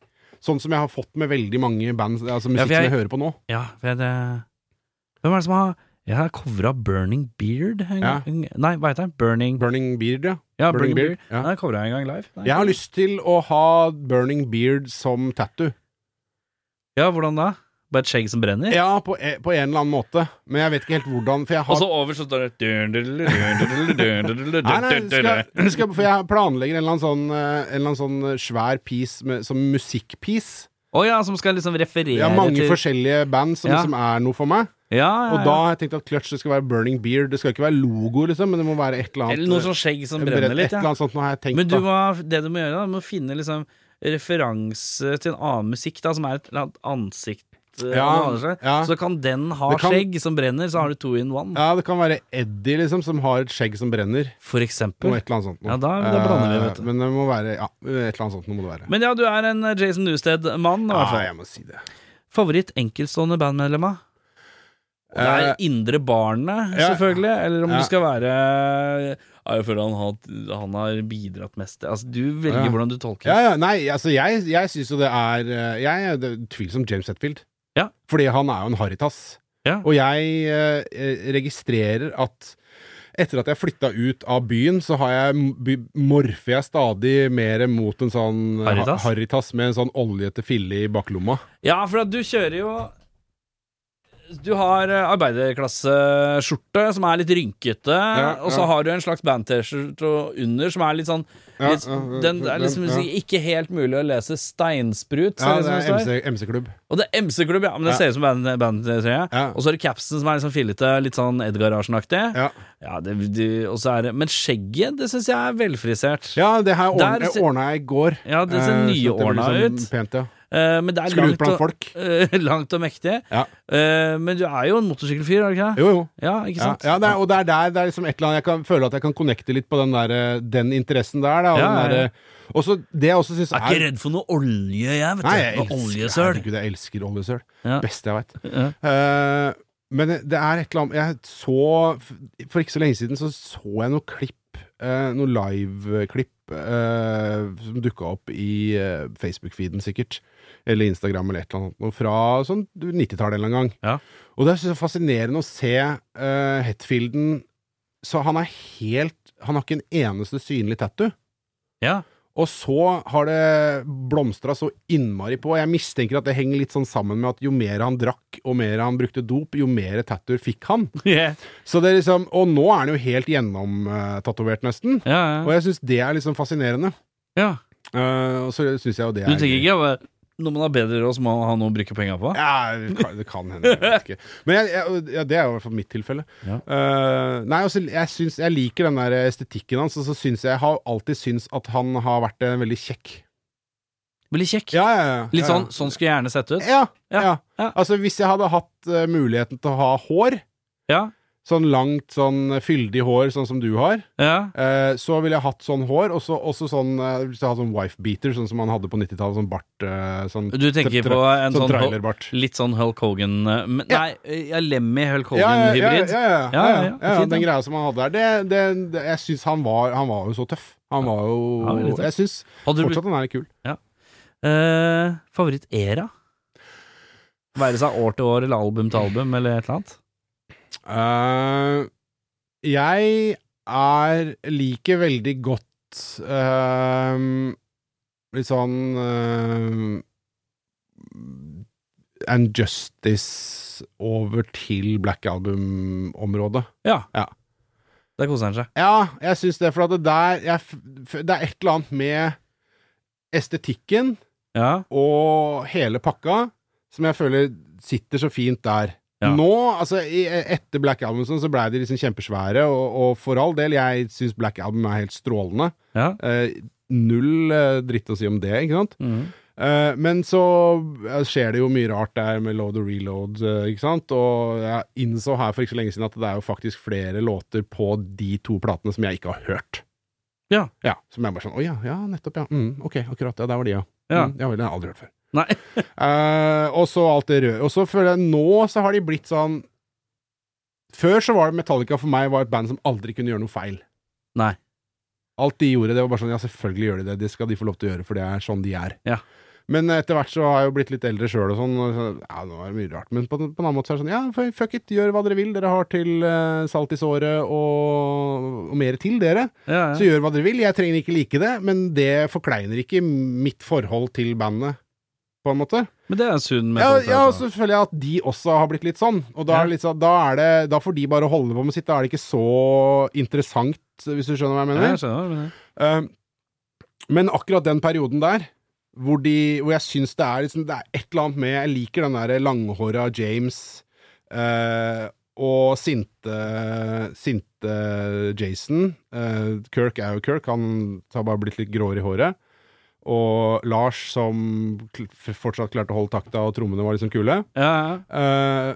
Sånn som jeg har fått med veldig mange band Altså musikk
for jeg-
som jeg hører på nå.
Ja, for jeg, det... Hvem er det som har Jeg har covra Burning Beard en
Ja.
gang. Nei, hva heter den? Burning
Burning Beard, ja.
Ja,
Burning
Burning,
Beard,
Beard.
ja.
Den har jeg covra en gang live. Nei.
Jeg har lyst til å ha Burning Beard som tattoo.
Ja, hvordan da? Bare et skjegg som brenner?
Ja, på, e- på en eller annen måte. Men jeg vet ikke helt hvordan, for jeg
Og
har
så over så står det dun, dun, dun, dun, dun, dun, dun, dun,
Nei, nei,
dun, dun,
skal,
dun.
skal, for jeg planlegger en eller annen sånn, eh, en eller annen sånn svær piece med, som musikkpiece.
Å ja, som skal liksom referere
Jeg har mange
til
forskjellige band som
Ja.
liksom er noe for meg.
Ja, ja, ja.
Og da har jeg tenkt at Clutch det skal være Burning Beard. Det skal ikke være logo, liksom, men det må være et eller annet
Eller noe sånn skjegg som
et-
brenner
Et
litt,
eller
ja.
annet sånt nå har jeg tenkt,
Men du
da.
må, det du må gjøre, da, du må finne liksom referanse til en annen musikk, da, som er et eller annet ansikt. eh,
Ja,
av noe annet slag.
ja.
Så kan den ha
Det kan-
skjegg som brenner, så har du two in one,
Ja, det kan være Eddie, liksom, som har et skjegg som brenner.
for
Noe
eksempel.
et eller annet sånt. noe.
Ja, da- da blander vi,
Eh,
vet du.
Men det må være Ja, et eller annet sånt noe må det være.
Men ja, du er en eh, Jason Newsted-mann, i hvert
Ja,
fall.
jeg må si det.
Favoritt enkeltstående bandmedlemmer? Og Det er
Eh,
indre barnet,
ja.
selvfølgelig. Eller om
Ja.
du skal være ja, Jeg føler han har, han har bidratt mest. Altså, du velger
Ja.
hvordan du tolker.
Ja, ja, nei, altså jeg, jeg syns jo det er eh, Jeg er det er tvilsomt James Hetfield.
Ja.
Fordi han er jo en harrytass.
Ja.
Og jeg eh, eh, registrerer at etter at jeg flytta ut av byen, så har jeg, m- by- morfer jeg stadig mer mot en sånn eh, ha-
Harrytass?
harrytass med en sånn oljete fille i baklomma.
Ja, for at du kjører jo Du har eh, arbeiderklasseskjorte som er litt rynkete,
Ja,
og så
ja.
har du en slags band-T-skjorte under som er litt sånn
Ja,
litt,
ja, ja,
Den er liksom
ja.
ikke helt mulig å lese steinsprut.
Ja,
ser
det
som
er
står.
MC MC-klubb.
Og det er MC-klubb, ja, men det
Ja.
ser ut som band, band ser jeg.
Ja.
Og så er det capsen som er litt sånn fillete, litt sånn Edgar-Arsen-aktig. Ja.
ja.
det, du- og så er det- men skjegget, det syns jeg er velfrisert.
ja, det her
Der
ordna
ser-
jeg ordna jeg i går.
Ja, det ser
Eh, så
nyordna
det blir
ut.
Pent, ja.
Eh, men det er
Skru ut
langt
blant
og,
folk.
langt og mektig.
Ja.
Eh, men du er jo en motorsykkelfyr, er du ikke det?
Jo, jo.
Ja, ikke
Ja,
sant?
ja det er, og det er der det er liksom et eller annet jeg kan føle at jeg kan connecte litt på den, der, eh, den interessen der. Da, og
Ja,
den
ja,
der,
ja.
eh, og så det jeg også syns
Jeg er ikke redd for noe olje, jeg, vet du.
Nei, jeg
Noe
elsker,
oljesøl.
herregud, jeg elsker oljesøl.
Ja.
Beste jeg veit.
Ja.
Eh, men det er et eller annet Jeg så For ikke så lenge siden så så jeg noe klipp, eh, noe live-klipp, eh, som dukka opp i eh, Facebook-feeden sikkert. Eller Instagram eller et eller annet. noe Fra sånn 90-tallet en eller annen gang.
Ja.
Og det er så fascinerende å se eh, Hetfielden Så han er helt Han har ikke en eneste synlig tattoo.
Ja.
Og så har det blomstra så innmari på. Jeg mistenker at det henger litt sånn sammen med at jo mer han drakk, og mer han brukte dop, jo mer tattooer fikk han.
Ja,
Så det er liksom, Og nå er han jo helt gjennomtatovert, nesten.
ja.
Og jeg syns det er liksom fascinerende.
ja.
Eh, og så syns jeg jo det
Du
er
tenker ikke at når man har bedre råd, så må man ha noe å bruke penger på?
Ja, det kan- det kan hende. Jeg vet ikke. Men jeg, jeg, ja, det er jo i hvert fall mitt tilfelle.
Ja.
Eh, nei, altså, jeg, syns, jeg liker den der estetikken hans, og så syns jeg, jeg har alltid syns at han har vært eh, veldig kjekk.
Veldig kjekk.
Ja, ja, ja.
Litt
Ja, ja.
sånn sånn skulle jeg gjerne sett ut.
Ja, ja,
Ja, ja.
Altså, hvis jeg hadde hatt eh, muligheten til å ha hår,
Ja.
sånn langt, sånn fyldig hår, sånn som du har,
ja.
eh, så ville jeg hatt sånn hår, og så også sånn eh, Hvis jeg hadde sånn wife beater, sånn som man hadde på 90-tallet, sånn bart eh, sånn,
Du tenker
tra-
på en
sånn
sånn Hul-
trailerbart.
litt sånn Hulk Hogan eh, men,
Ja.
Nei, ja, Lemmy Hulk
Ja, ja, ja,
Hogan-hybrid.
ja,
Ja,
ja, ja,
ja, ja.
ja, ja,
Fint,
den
ja.
greia som han hadde der. Det, det, det, jeg syns han var Han var jo så tøff. Han var
Ja,
jo
veldig tøff.
Jeg syns
Hadde du blitt
fortsatt han er litt kul.
eh, favoritt-era? Være seg år til år eller album til album eller et eller annet?
Eh, jeg er liker veldig godt eh, litt sånn eh, And Justice over til Black Album-området.
Ja.
Ja.
Der koser han seg.
Ja, jeg syns det, for at det der jeg, f- Det er et eller annet med estetikken
Ja.
og hele pakka som jeg føler sitter så fint der.
Ja.
Nå, altså i, etter Black Album sånn, så blei de liksom kjempesvære, og, og for all del, jeg syns Black Album er helt strålende.
ja.
Eh, null eh, dritt å si om det, ikke sant?
Mhm.
Eh, men så eh, skjer det jo mye rart der med load og reload, eh, ikke sant? Og jeg innså her for ikke så lenge siden at det er jo faktisk flere låter på de to platene som jeg ikke har hørt.
Ja.
ja som jeg bare sånn Å ja, ja, nettopp, ja. Mm, ok, akkurat. Ja, der var de, ja.
Ja.
Mm, ja vel, det har jeg aldri hørt før.
Nei.
Eh, og så alt det røde. Og så føler jeg nå så har de blitt sånn Før så var det Metallica for meg var et band som aldri kunne gjøre noe feil.
Nei.
Alt de gjorde, det var bare sånn Ja, selvfølgelig gjør de det. Det skal de få lov til å gjøre, for det er sånn de er.
Ja.
Men etter hvert så har jeg jo blitt litt eldre sjøl og sånn. Og så, ja, nå er det mye rart. Men på, på en annen måte så er det sånn Ja, fuck it, gjør hva dere vil. Dere har til eh, salt i såret og, og mer til dere.
Ja,
Så
ja.
gjør hva dere vil. Jeg trenger ikke like det, men det forkleiner ikke mitt forhold til bandet, på en måte.
Men sånn det er en sunn altså.
Ja,
metode.
ja, og så føler jeg at de også har blitt litt sånn. Og da, er det litt sånn, da, er det, da får de bare holde på med sitt. Da er det ikke så interessant, hvis du skjønner hva jeg
Ja,
mener.
jeg skjønner hva du mener.
Eh, men akkurat den perioden der, hvor, de, hvor jeg syns det er, liksom, det er et eller annet med Jeg liker den der langhåra James eh, og sinte, sinte Jason. Eh, Kirk er jo Kirk, han har bare blitt litt gråere i håret. Og Lars, som kl- f- fortsatt klarte å holde takta, og trommene var liksom kule.
Ja, ja.
Eh,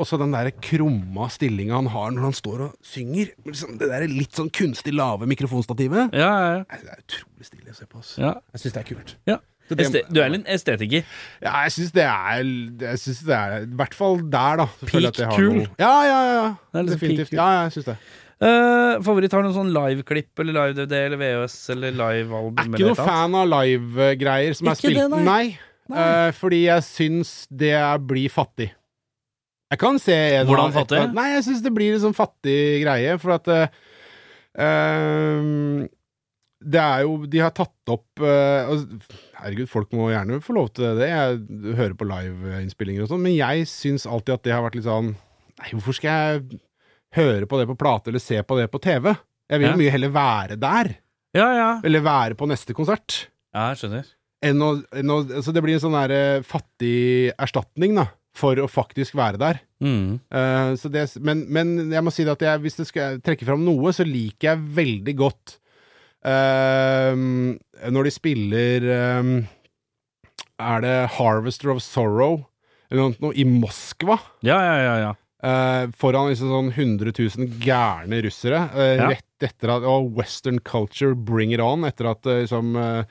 og så den der krumma stillinga han har når han står og synger. Liksom, det der litt sånn kunstig lave mikrofonstativet.
ja, ja, ja.
Nei, Det er utrolig stilig å se på. Ass.
ja.
Jeg syns det er kult.
Ja.
Så det-
Este du er en estetiker.
Ja, jeg syns det er Jeg synes det er I hvert fall der, da. så føler jeg at jeg har
Peak kul.
noe- Ja, ja, ja.
Det er liksom peak
Definitivt.
kul.
Ja, ja, jeg syns det.
Eh, favoritt har du noen sånn liveklipp eller live-DVD eller VHS eller live-album?
Jeg er
eller
ikke noe
et eller annet?
fan av live-greier som er
Ikke det,
spilt.
nei.
nei. Eh, fordi jeg syns det er- blir fattig. Jeg kan se en
Hvordan
av- et-
fattig?
Nei, jeg syns det blir en sånn fattig greie, for at eh, ehm, det er jo De har tatt opp eh, altså, Herregud, folk må gjerne få lov til det. Jeg hører på liveinnspillinger og sånn, men jeg syns alltid at det har vært litt sånn Nei, hvorfor skal jeg høre på det på plate eller se på det på TV? Jeg vil
Ja.
mye heller være der,
Ja, ja.
eller være på neste konsert
ja, jeg skjønner.
enn å, enn å Så det blir en sånn der eh, fattig erstatning, da, for å faktisk være der.
Mm.
Eh, så det, men, men jeg må si det at jeg, hvis jeg skal trekke fram noe, så liker jeg veldig godt eh, Når de spiller eh, Er det Harvester of Sorrow eller noe, sånt noe i Moskva?
Ja, ja, ja, ja.
eh, foran liksom sånn 100 000 gærne russere. eh,
Ja.
Rett etter at Og western culture bring it on, etter at eh, liksom eh,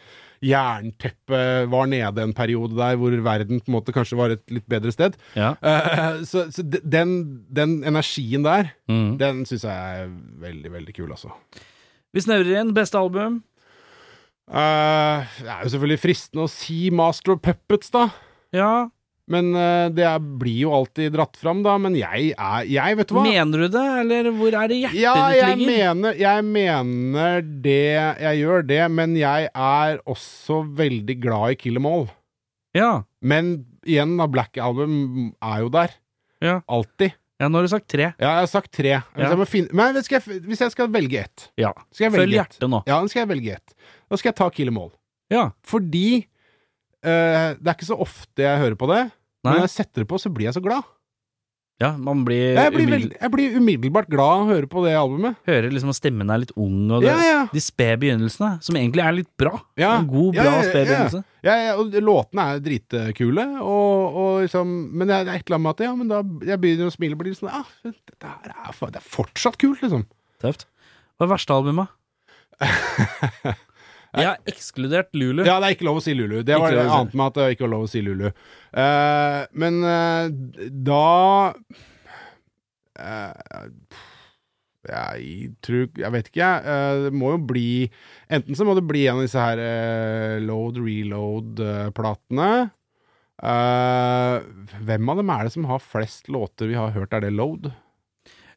Jernteppet var nede en periode der hvor verden på en måte kanskje var et litt bedre sted.
ja.
Eh, så så de- den, den energien der,
Mm.
den syns jeg er veldig, veldig kul, altså.
Vi snevrer inn. Beste album?
Eh, det er jo selvfølgelig fristende å si Master of Puppets, da.
Ja.
Men eh, det er, blir jo alltid dratt fram, da. Men jeg er Jeg, vet du hva?
Mener du det, eller hvor er det hjertet
ja, jeg
ditt ligger?
mener, jeg mener det Jeg gjør det, men jeg er også veldig glad i Kill 'em All.
Ja,
Men igjen, da, Black Album er jo der.
Ja.
Alltid.
ja, nå har du sagt tre.
Ja, jeg har sagt tre. Hvis,
Ja.
jeg, må finne, men hvis, jeg, hvis jeg skal velge ett
Ja.
skal jeg
Følg
velge ett.
hjertet nå.
Ja, nå skal jeg velge ett. Da skal jeg ta Kill 'em All.
Ja.
Fordi eh, det er ikke så ofte jeg hører på det. Men
Nei.
når jeg setter det på, så blir jeg så glad.
Ja, man blir,
Jeg blir,
Eh, umiddelbart-
veld, jeg blir umiddelbart glad av å høre på det albumet.
Hører liksom at stemmen er litt ung, og det,
Ja, ja.
de spede begynnelsene, som egentlig er litt bra.
Ja.
En god,
Ja,
bra
ja, ja,
sped
ja.
begynnelse.
Ja, ja, og låtene er dritkule, og, og liksom Men det er et eller annet med at ja, men da jeg begynner å smile og blir sånn ah, dette her er, fa- Det er fortsatt kult, liksom.
Tøft. Hva er verste albumet? Jeg har ekskludert Lulu.
Ja, det er ikke lov å si Lulu. Det var
Ikke
det
lov å si.
annet med at det ikke var lov å si Lulu. Eh, men eh, da eh, Jeg tror Jeg vet ikke, jeg. Eh, det må jo bli Enten så må det bli en av disse her eh, load, eh, reload-platene. Eh, hvem av dem er det som har flest låter vi har hørt? Er det Load?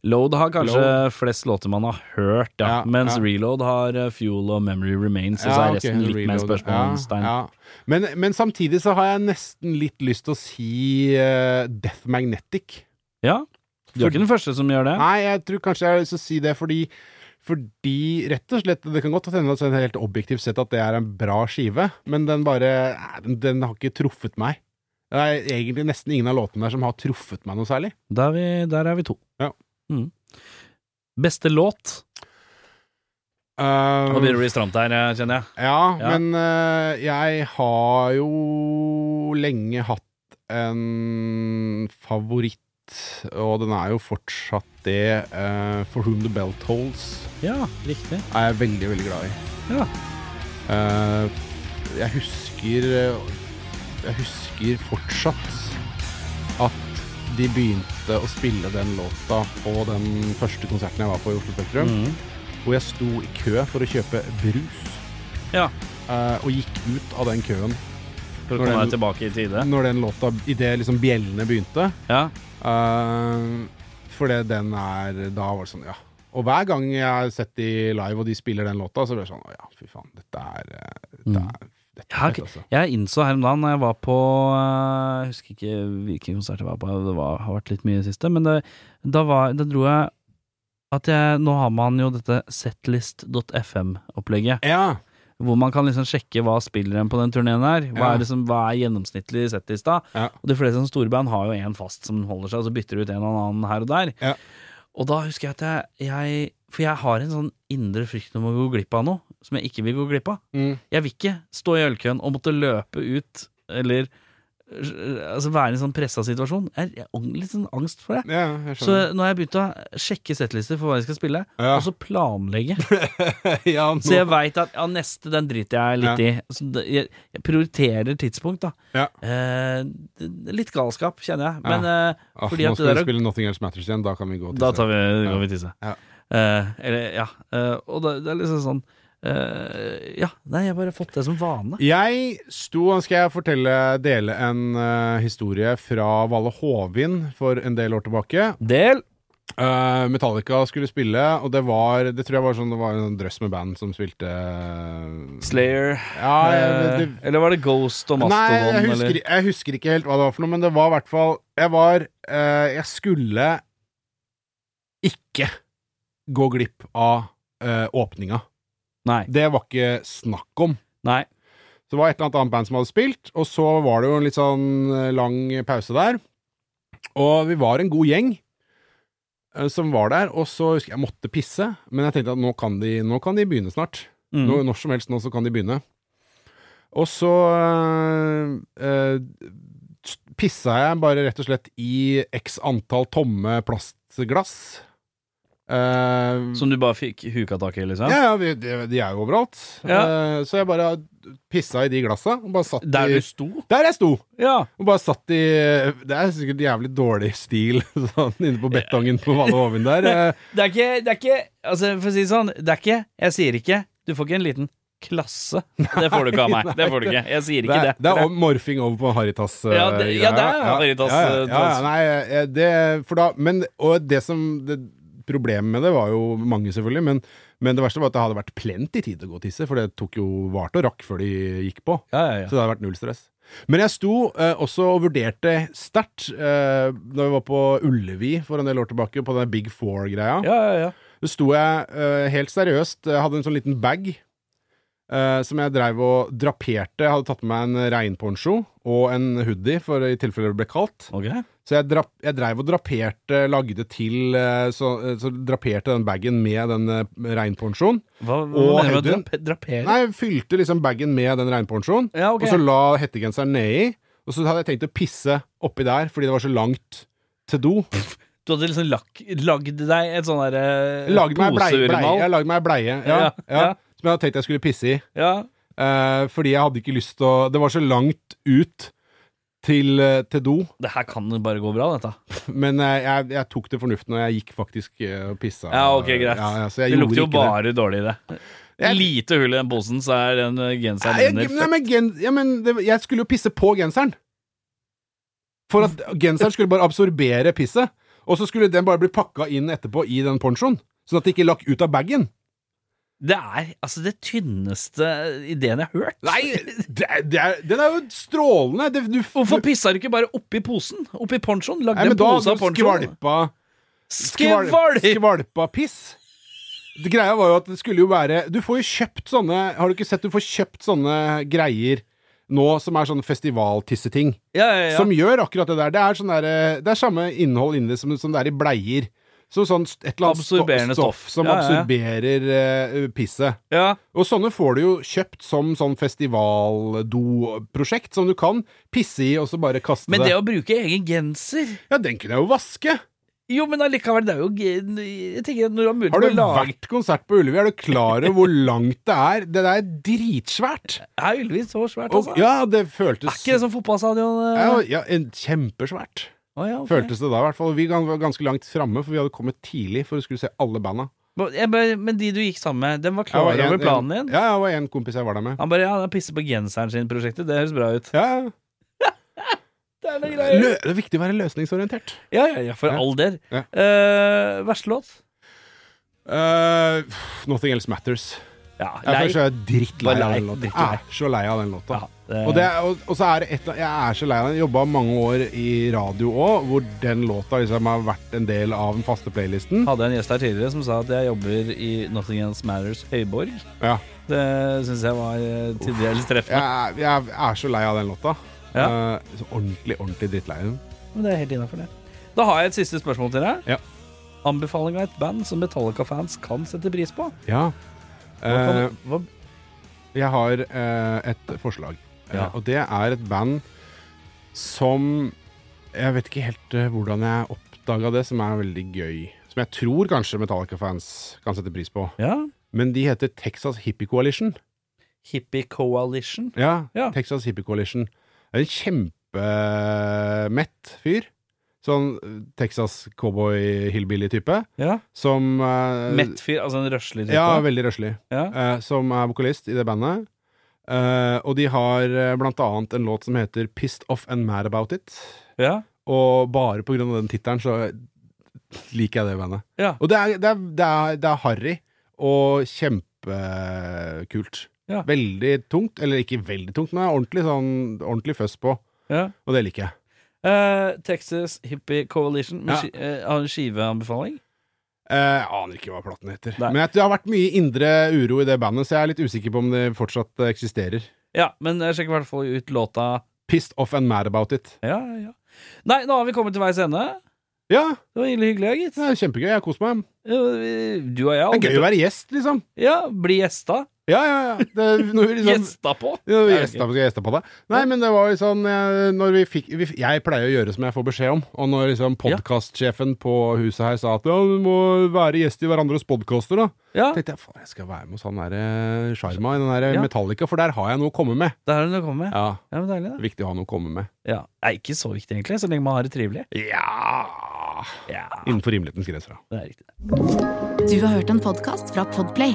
Load har kanskje
Load.
flest låter man har hørt, ja.
Ja,
mens
ja.
Reload har eh, Fuel og Memory Remains, og så
Ja,
er
ok,
resten litt mer
reload.
spørsmålstegn.
Ja, ja. Men, men samtidig så har jeg nesten litt lyst til å si eh, Death Magnetic.
Ja. Du
For-
er ikke den første som gjør det.
Nei, jeg tror kanskje jeg har lyst til å si det fordi fordi, rett og slett, Det kan godt hende at det er helt objektivt sett at det er en bra skive, men den bare eh, Den, den har ikke truffet meg. Det er egentlig nesten ingen av låtene der som har truffet meg noe særlig.
Der er vi, der er vi to.
Ja.
Mm. Beste låt? Nå
Mm.
begynner det å bli stramt her, eh, kjenner jeg.
ja,
Ja.
men eh, jeg har jo lenge hatt en favoritt, og den er jo fortsatt det. eh, For Whom The Bell Tolls
Ja, riktig.
er jeg veldig, veldig glad i.
Ja.
Eh, jeg husker eh, Jeg husker fortsatt at de begynte å spille den låta på den første konserten jeg var på i Oslo Spektrum.
Mhm.
Hvor jeg sto i kø for å kjøpe brus,
ja.
eh, og gikk ut av den køen
For å
Når
komme
den-
deg tilbake i tide.
når den låta Idet liksom bjellene begynte.
Ja.
Eh, for det, den er Da var det sånn, ja. Og hver gang jeg har sett de live, og de spiller den låta, så blir det sånn Å ja, fy faen. Dette er, eh, dette
Mhm.
er, dette
Jeg, har
er fett,
ikke-
altså.
jeg innså her om dagen når jeg var på eh, Jeg husker ikke hvilken konsert jeg var på, det var, har vært litt mye i det siste, men det, da, var, da dro jeg at jeg, Nå har man jo dette setlist.fm-opplegget,
Ja.
hvor man kan liksom sjekke hva spiller en på den turneen her. Hva
Ja.
er, liksom, hva er gjennomsnittlig setlist da?
Ja.
Og de fleste sånne store band har jo en fast som holder seg, og så bytter de ut en og annen her og der.
Ja.
Og da husker jeg at jeg, jeg For jeg har en sånn indre frykt om å gå glipp av noe som jeg ikke vil gå glipp av.
Mm.
Jeg vil ikke stå i ølkøen og måtte løpe ut, eller øh, altså være i en sånn pressa situasjon. Jeg jeg har litt sånn angst for det.
Ja, jeg
Så
skjønner.
nå har jeg begynt å sjekke settlister for hva jeg skal spille,
Ja.
og så planlegge.
ja, nå,
Så jeg veit at ja, neste den driter jeg litt i. Så det, jeg, jeg prioriterer tidspunkt, da.
Ja.
Eh, det- litt galskap, kjenner jeg.
Ja.
Men eh,
Ah,
fordi
nå
at
skal
det
vi
der å-
spille Nothing Else Matters igjen, da kan vi gå til
da
se.
tar vi, går vi tisse.
Ja.
Eh, eller, ja. Eh, og det, det er liksom sånn eh, Ja, nei, jeg har bare fått det som vane.
Jeg sto Nå skal jeg fortelle, dele en eh, historie fra Valle Hovin for en del år tilbake.
Del!
Eh, Metallica skulle spille, og det var Det tror jeg var sånn Det var en drøss med band som spilte eh,
Slayer.
Ja, jeg- det,
Eh, eller var det Ghost og
Nei,
Mastodon?
jeg husker,
eller?
jeg husker ikke helt hva det var for noe, men det var i hvert fall Jeg var eh, Jeg skulle ikke gå glipp av eh, åpninga.
Nei.
Det var ikke snakk om.
nei.
Så det var et eller annet annet band som hadde spilt, og så var det jo en litt sånn eh, lang pause der. Og vi var en god gjeng eh, som var der, og så husker jeg jeg måtte pisse, men jeg tenkte at nå kan de, nå kan de begynne snart.
Mm.
Nå, når som helst nå så kan de begynne. Og så øh, øh, s- pissa jeg bare rett og slett i x antall tomme plastglass. Eh,
Som du bare fikk huka tak i, liksom?
ja, ja, vi- de, de er jo overalt. Eh, så jeg bare pissa i de glassa. Og bare satt
Der
i,
du sto?
der jeg sto!
Ja.
Og bare satt i Det er sikkert jævlig dårlig stil sånn inne på betongen på Valle Hovin der. Eh,
Det er ikke, det er ikke Altså, for å si det sånn, det er ikke Jeg sier ikke Du får ikke en liten klasse. Det får du ikke av meg. Det får du ikke. Jeg sier
Det
ikke
er,
det.
det er om morfing over på Haritas. eh,
Ja, det- ja, det er
greia.
Haritas,
Ja, ja,
eh,
ja, ja, nei, eh, det, for da, men, og det som det, Problemet med det var jo mange, selvfølgelig, men, men det verste var at det hadde vært plenty tid til å gå og tisse, for det tok jo vart og rakk før de gikk på.
Ja, ja, ja.
Så det hadde vært null stress. Men jeg sto eh, også og vurderte sterkt eh, da vi var på Ullevi for en del år tilbake, på den der Big Four-greia.
Ja, ja, ja.
Så sto jeg eh, helt seriøst, jeg hadde en sånn liten bag eh, som jeg dreiv og draperte. Jeg hadde tatt med meg en regnponcho og en hoodie for i tilfelle det ble kaldt.
Ok.
Så jeg, drap, jeg dreiv og draperte, lagde til eh, så, så draperte den bagen med den eh, regnponchoen.
Hva, hva
Og
mener du
Audun?
med drap drapere?
Nei, Altså, jeg fylte liksom bagen med den regnponchoen,
Ja, ok.
og så la hettegenseren nedi. Og så hadde jeg tenkt å pisse oppi der fordi det var så langt til do.
Du hadde liksom lak, lagd deg et sånn derre
Lagde meg bleie, bleie. Jeg lagde meg bleie ja,
Ja,
ja,
ja.
som jeg hadde tenkt jeg skulle pisse i.
Ja.
Eh, fordi jeg hadde ikke lyst til å Det var så langt ut til, eh, til do,
Det her kan bare gå bra, dette.
men eh, jeg, jeg tok til fornuften, og jeg gikk faktisk eh, og pissa.
Ja, ok, greit.
Ja, ja, så
Det
jeg gjorde
lukter jo
ikke
bare dårlig i det.
Jeg-
Lite hull i den posen, så er den eh,
Nei,
genseren
jeg, nei,
under.
men, gen, ja, men det, jeg skulle jo pisse på genseren. For at genseren skulle bare absorbere pisset. Og så skulle den bare bli pakka inn etterpå i den ponchoen. Sånn at det ikke lakk ut av bagen.
Det er altså det tynneste ideen jeg har hørt.
Nei, det, er- det er, den er jo strålende! Det, du,
Hvorfor
du,
pissa du ikke bare oppi posen? Oppi ponchoen? Lagde
nei, men
en
da
pose
hadde
av
du
ponchoen.
skvalpa skval-
Skvalp!
Skvalpa piss. Det greia var jo at det skulle jo være Du får jo kjøpt sånne Har du ikke sett du får kjøpt sånne greier nå som er sånne festivaltisseting?
Ja, ja, ja.
Som gjør akkurat det der. Det er, sånn der, eh, det er samme innhold inni det som, som det er i bleier. Så sånn st- et eller annet sto-
Absorberende stoff.
som
Ja, ja, ja.
absorberer eh, pisset.
ja.
Og sånne får du jo kjøpt som sånn festivaldoprosjekt som du kan pisse i og så bare kaste
Men det
det.
å bruke egen genser
Ja, den kunne jeg jo vaske!
Jo, men allikevel, det er jo gen- Jeg tenker at når du har mulighet
Har du
til å lage
vært konsert på Ullevi? Er du klar over hvor langt det er? Det der er dritsvært!
Er Ylvis så svært,
Og,
altså?
ja, det
Er
føltes
ikke det som fotballstadion? eh?
ja, ja, en kjempesvært.
Å, ja, ok.
Føltes det da, i hvert fall. Vi gan- var ganske langt framme, for vi hadde kommet tidlig for å skulle se alle banda.
Men- jeg bare- Men de du gikk sammen med, den var
Jeg
klar
var en-
over planen
en-
din?
Ja, jeg var en kompis jeg var der med.
Han bare ja, han pisser på genseren sin-prosjektet. Det høres bra ut.
Ja,
Det er noe
ja.
greier.
Lø det er viktig å være løsningsorientert.
Ja, ja, ja, for
Ja.
all del.
Ja.
Eh, Verste låt?
Eh, pff, nothing else matters.
Ja,
Jeg er
lei.
først så er jeg drittlei
Bare
av
lei,
den låta. Jeg
drittlei.
er så lei av den låta.
Ja, det-
Og, det, er- og, og så er det et eller annet Jeg er så lei av den. Jobba mange år i radio òg, hvor den låta liksom har vært en del av den faste playlisten.
Hadde en gjest her tidligere som sa at jeg jobber i Nothing Else Matters Høyborg.
Ja.
Det syns jeg var eh, til dels treffende.
Jeg, er- jeg er så lei av den låta.
Ja.
Eh, så ordentlig, ordentlig drittlei av den.
Men det er helt innafor, det. Da har jeg et siste spørsmål til deg.
Ja.
Anbefaling av et band som Metallica-fans kan sette pris på.
Ja.
Hva
Eh,
kan, hva,
Jeg har eh, et forslag. Eh,
Ja.
og det er et band som Jeg vet ikke helt eh, hvordan jeg oppdaga det, som er veldig gøy. Som jeg tror kanskje Metallica-fans kan sette pris på.
ja.
Men de heter Texas Hippie Coalition.
Hippie Coalition.
Ja,
Ja.
Texas Hippie Coalition. En kjempemett fyr. Sånn eh, Texas cowboy-hillbilly-type.
Ja.
Som eh,
Mett fyr, altså en røsler.
Ja, veldig røslig.
ja.
eh, som er vokalist i det bandet. Eh, og de har eh, blant annet en låt som heter 'Pissed Off and Mad About It'.
ja.
Og bare på grunn av den tittelen så liker jeg det bandet.
Ja.
Og det er, det er, det er, det er harry og kjempekult.
Ja.
Veldig tungt, eller ikke veldig tungt, men ordentlig, sånn, ordentlig føss på.
ja.
Og det liker jeg.
Eh, Texas Hippie Coalition med
Ja.
ski, eh, har en skiveanbefaling.
Eh, Jeg aner ikke hva platen heter.
Nei.
Men jeg, det har vært mye indre uro i det bandet, så jeg er litt usikker på om det fortsatt eh, eksisterer.
Ja, men eh, sjekk i hvert fall ut låta.
Pissed Off and Mad About It.
Ja, ja. Nei, nå har vi kommet til veis ende.
Ja,
Det var hyggelig, hyggelig, gitt.
det er kjempegøy. Jeg har kost meg.
Ja, vi- Du og jeg har
Det er gøy å
aldri
være gjest, liksom.
Ja, bli gjesta.
Ja, ja, ja. Det, når vi liksom,
Gjesta på!
når vi
Det er
gjesta, skal jeg gjeste på det. Nei, men det var jo sånn eh, når vi fikk, vi, Jeg pleier å gjøre som jeg får beskjed om. Og når liksom
Ja.
podkastsjefen på huset her sa at ja, du må være gjest i hverandres podkaster, da,
Ja,
tenkte jeg faen, jeg skal være med hos han derre Sjarma i den der eh,
Ja.
Metallica, for der har jeg noe å komme med.
der har du noe å komme med.
Ja,
Ja, men Deilig,
det
da.
er Viktig å ha noe å komme med.
Ja. Nei, ikke så viktig, egentlig, så lenge man har det trivelig.
Ja
Ja,
Innenfor rimelighetens grenser, da.
det er riktig.
Du har hørt en podkast fra Podplay.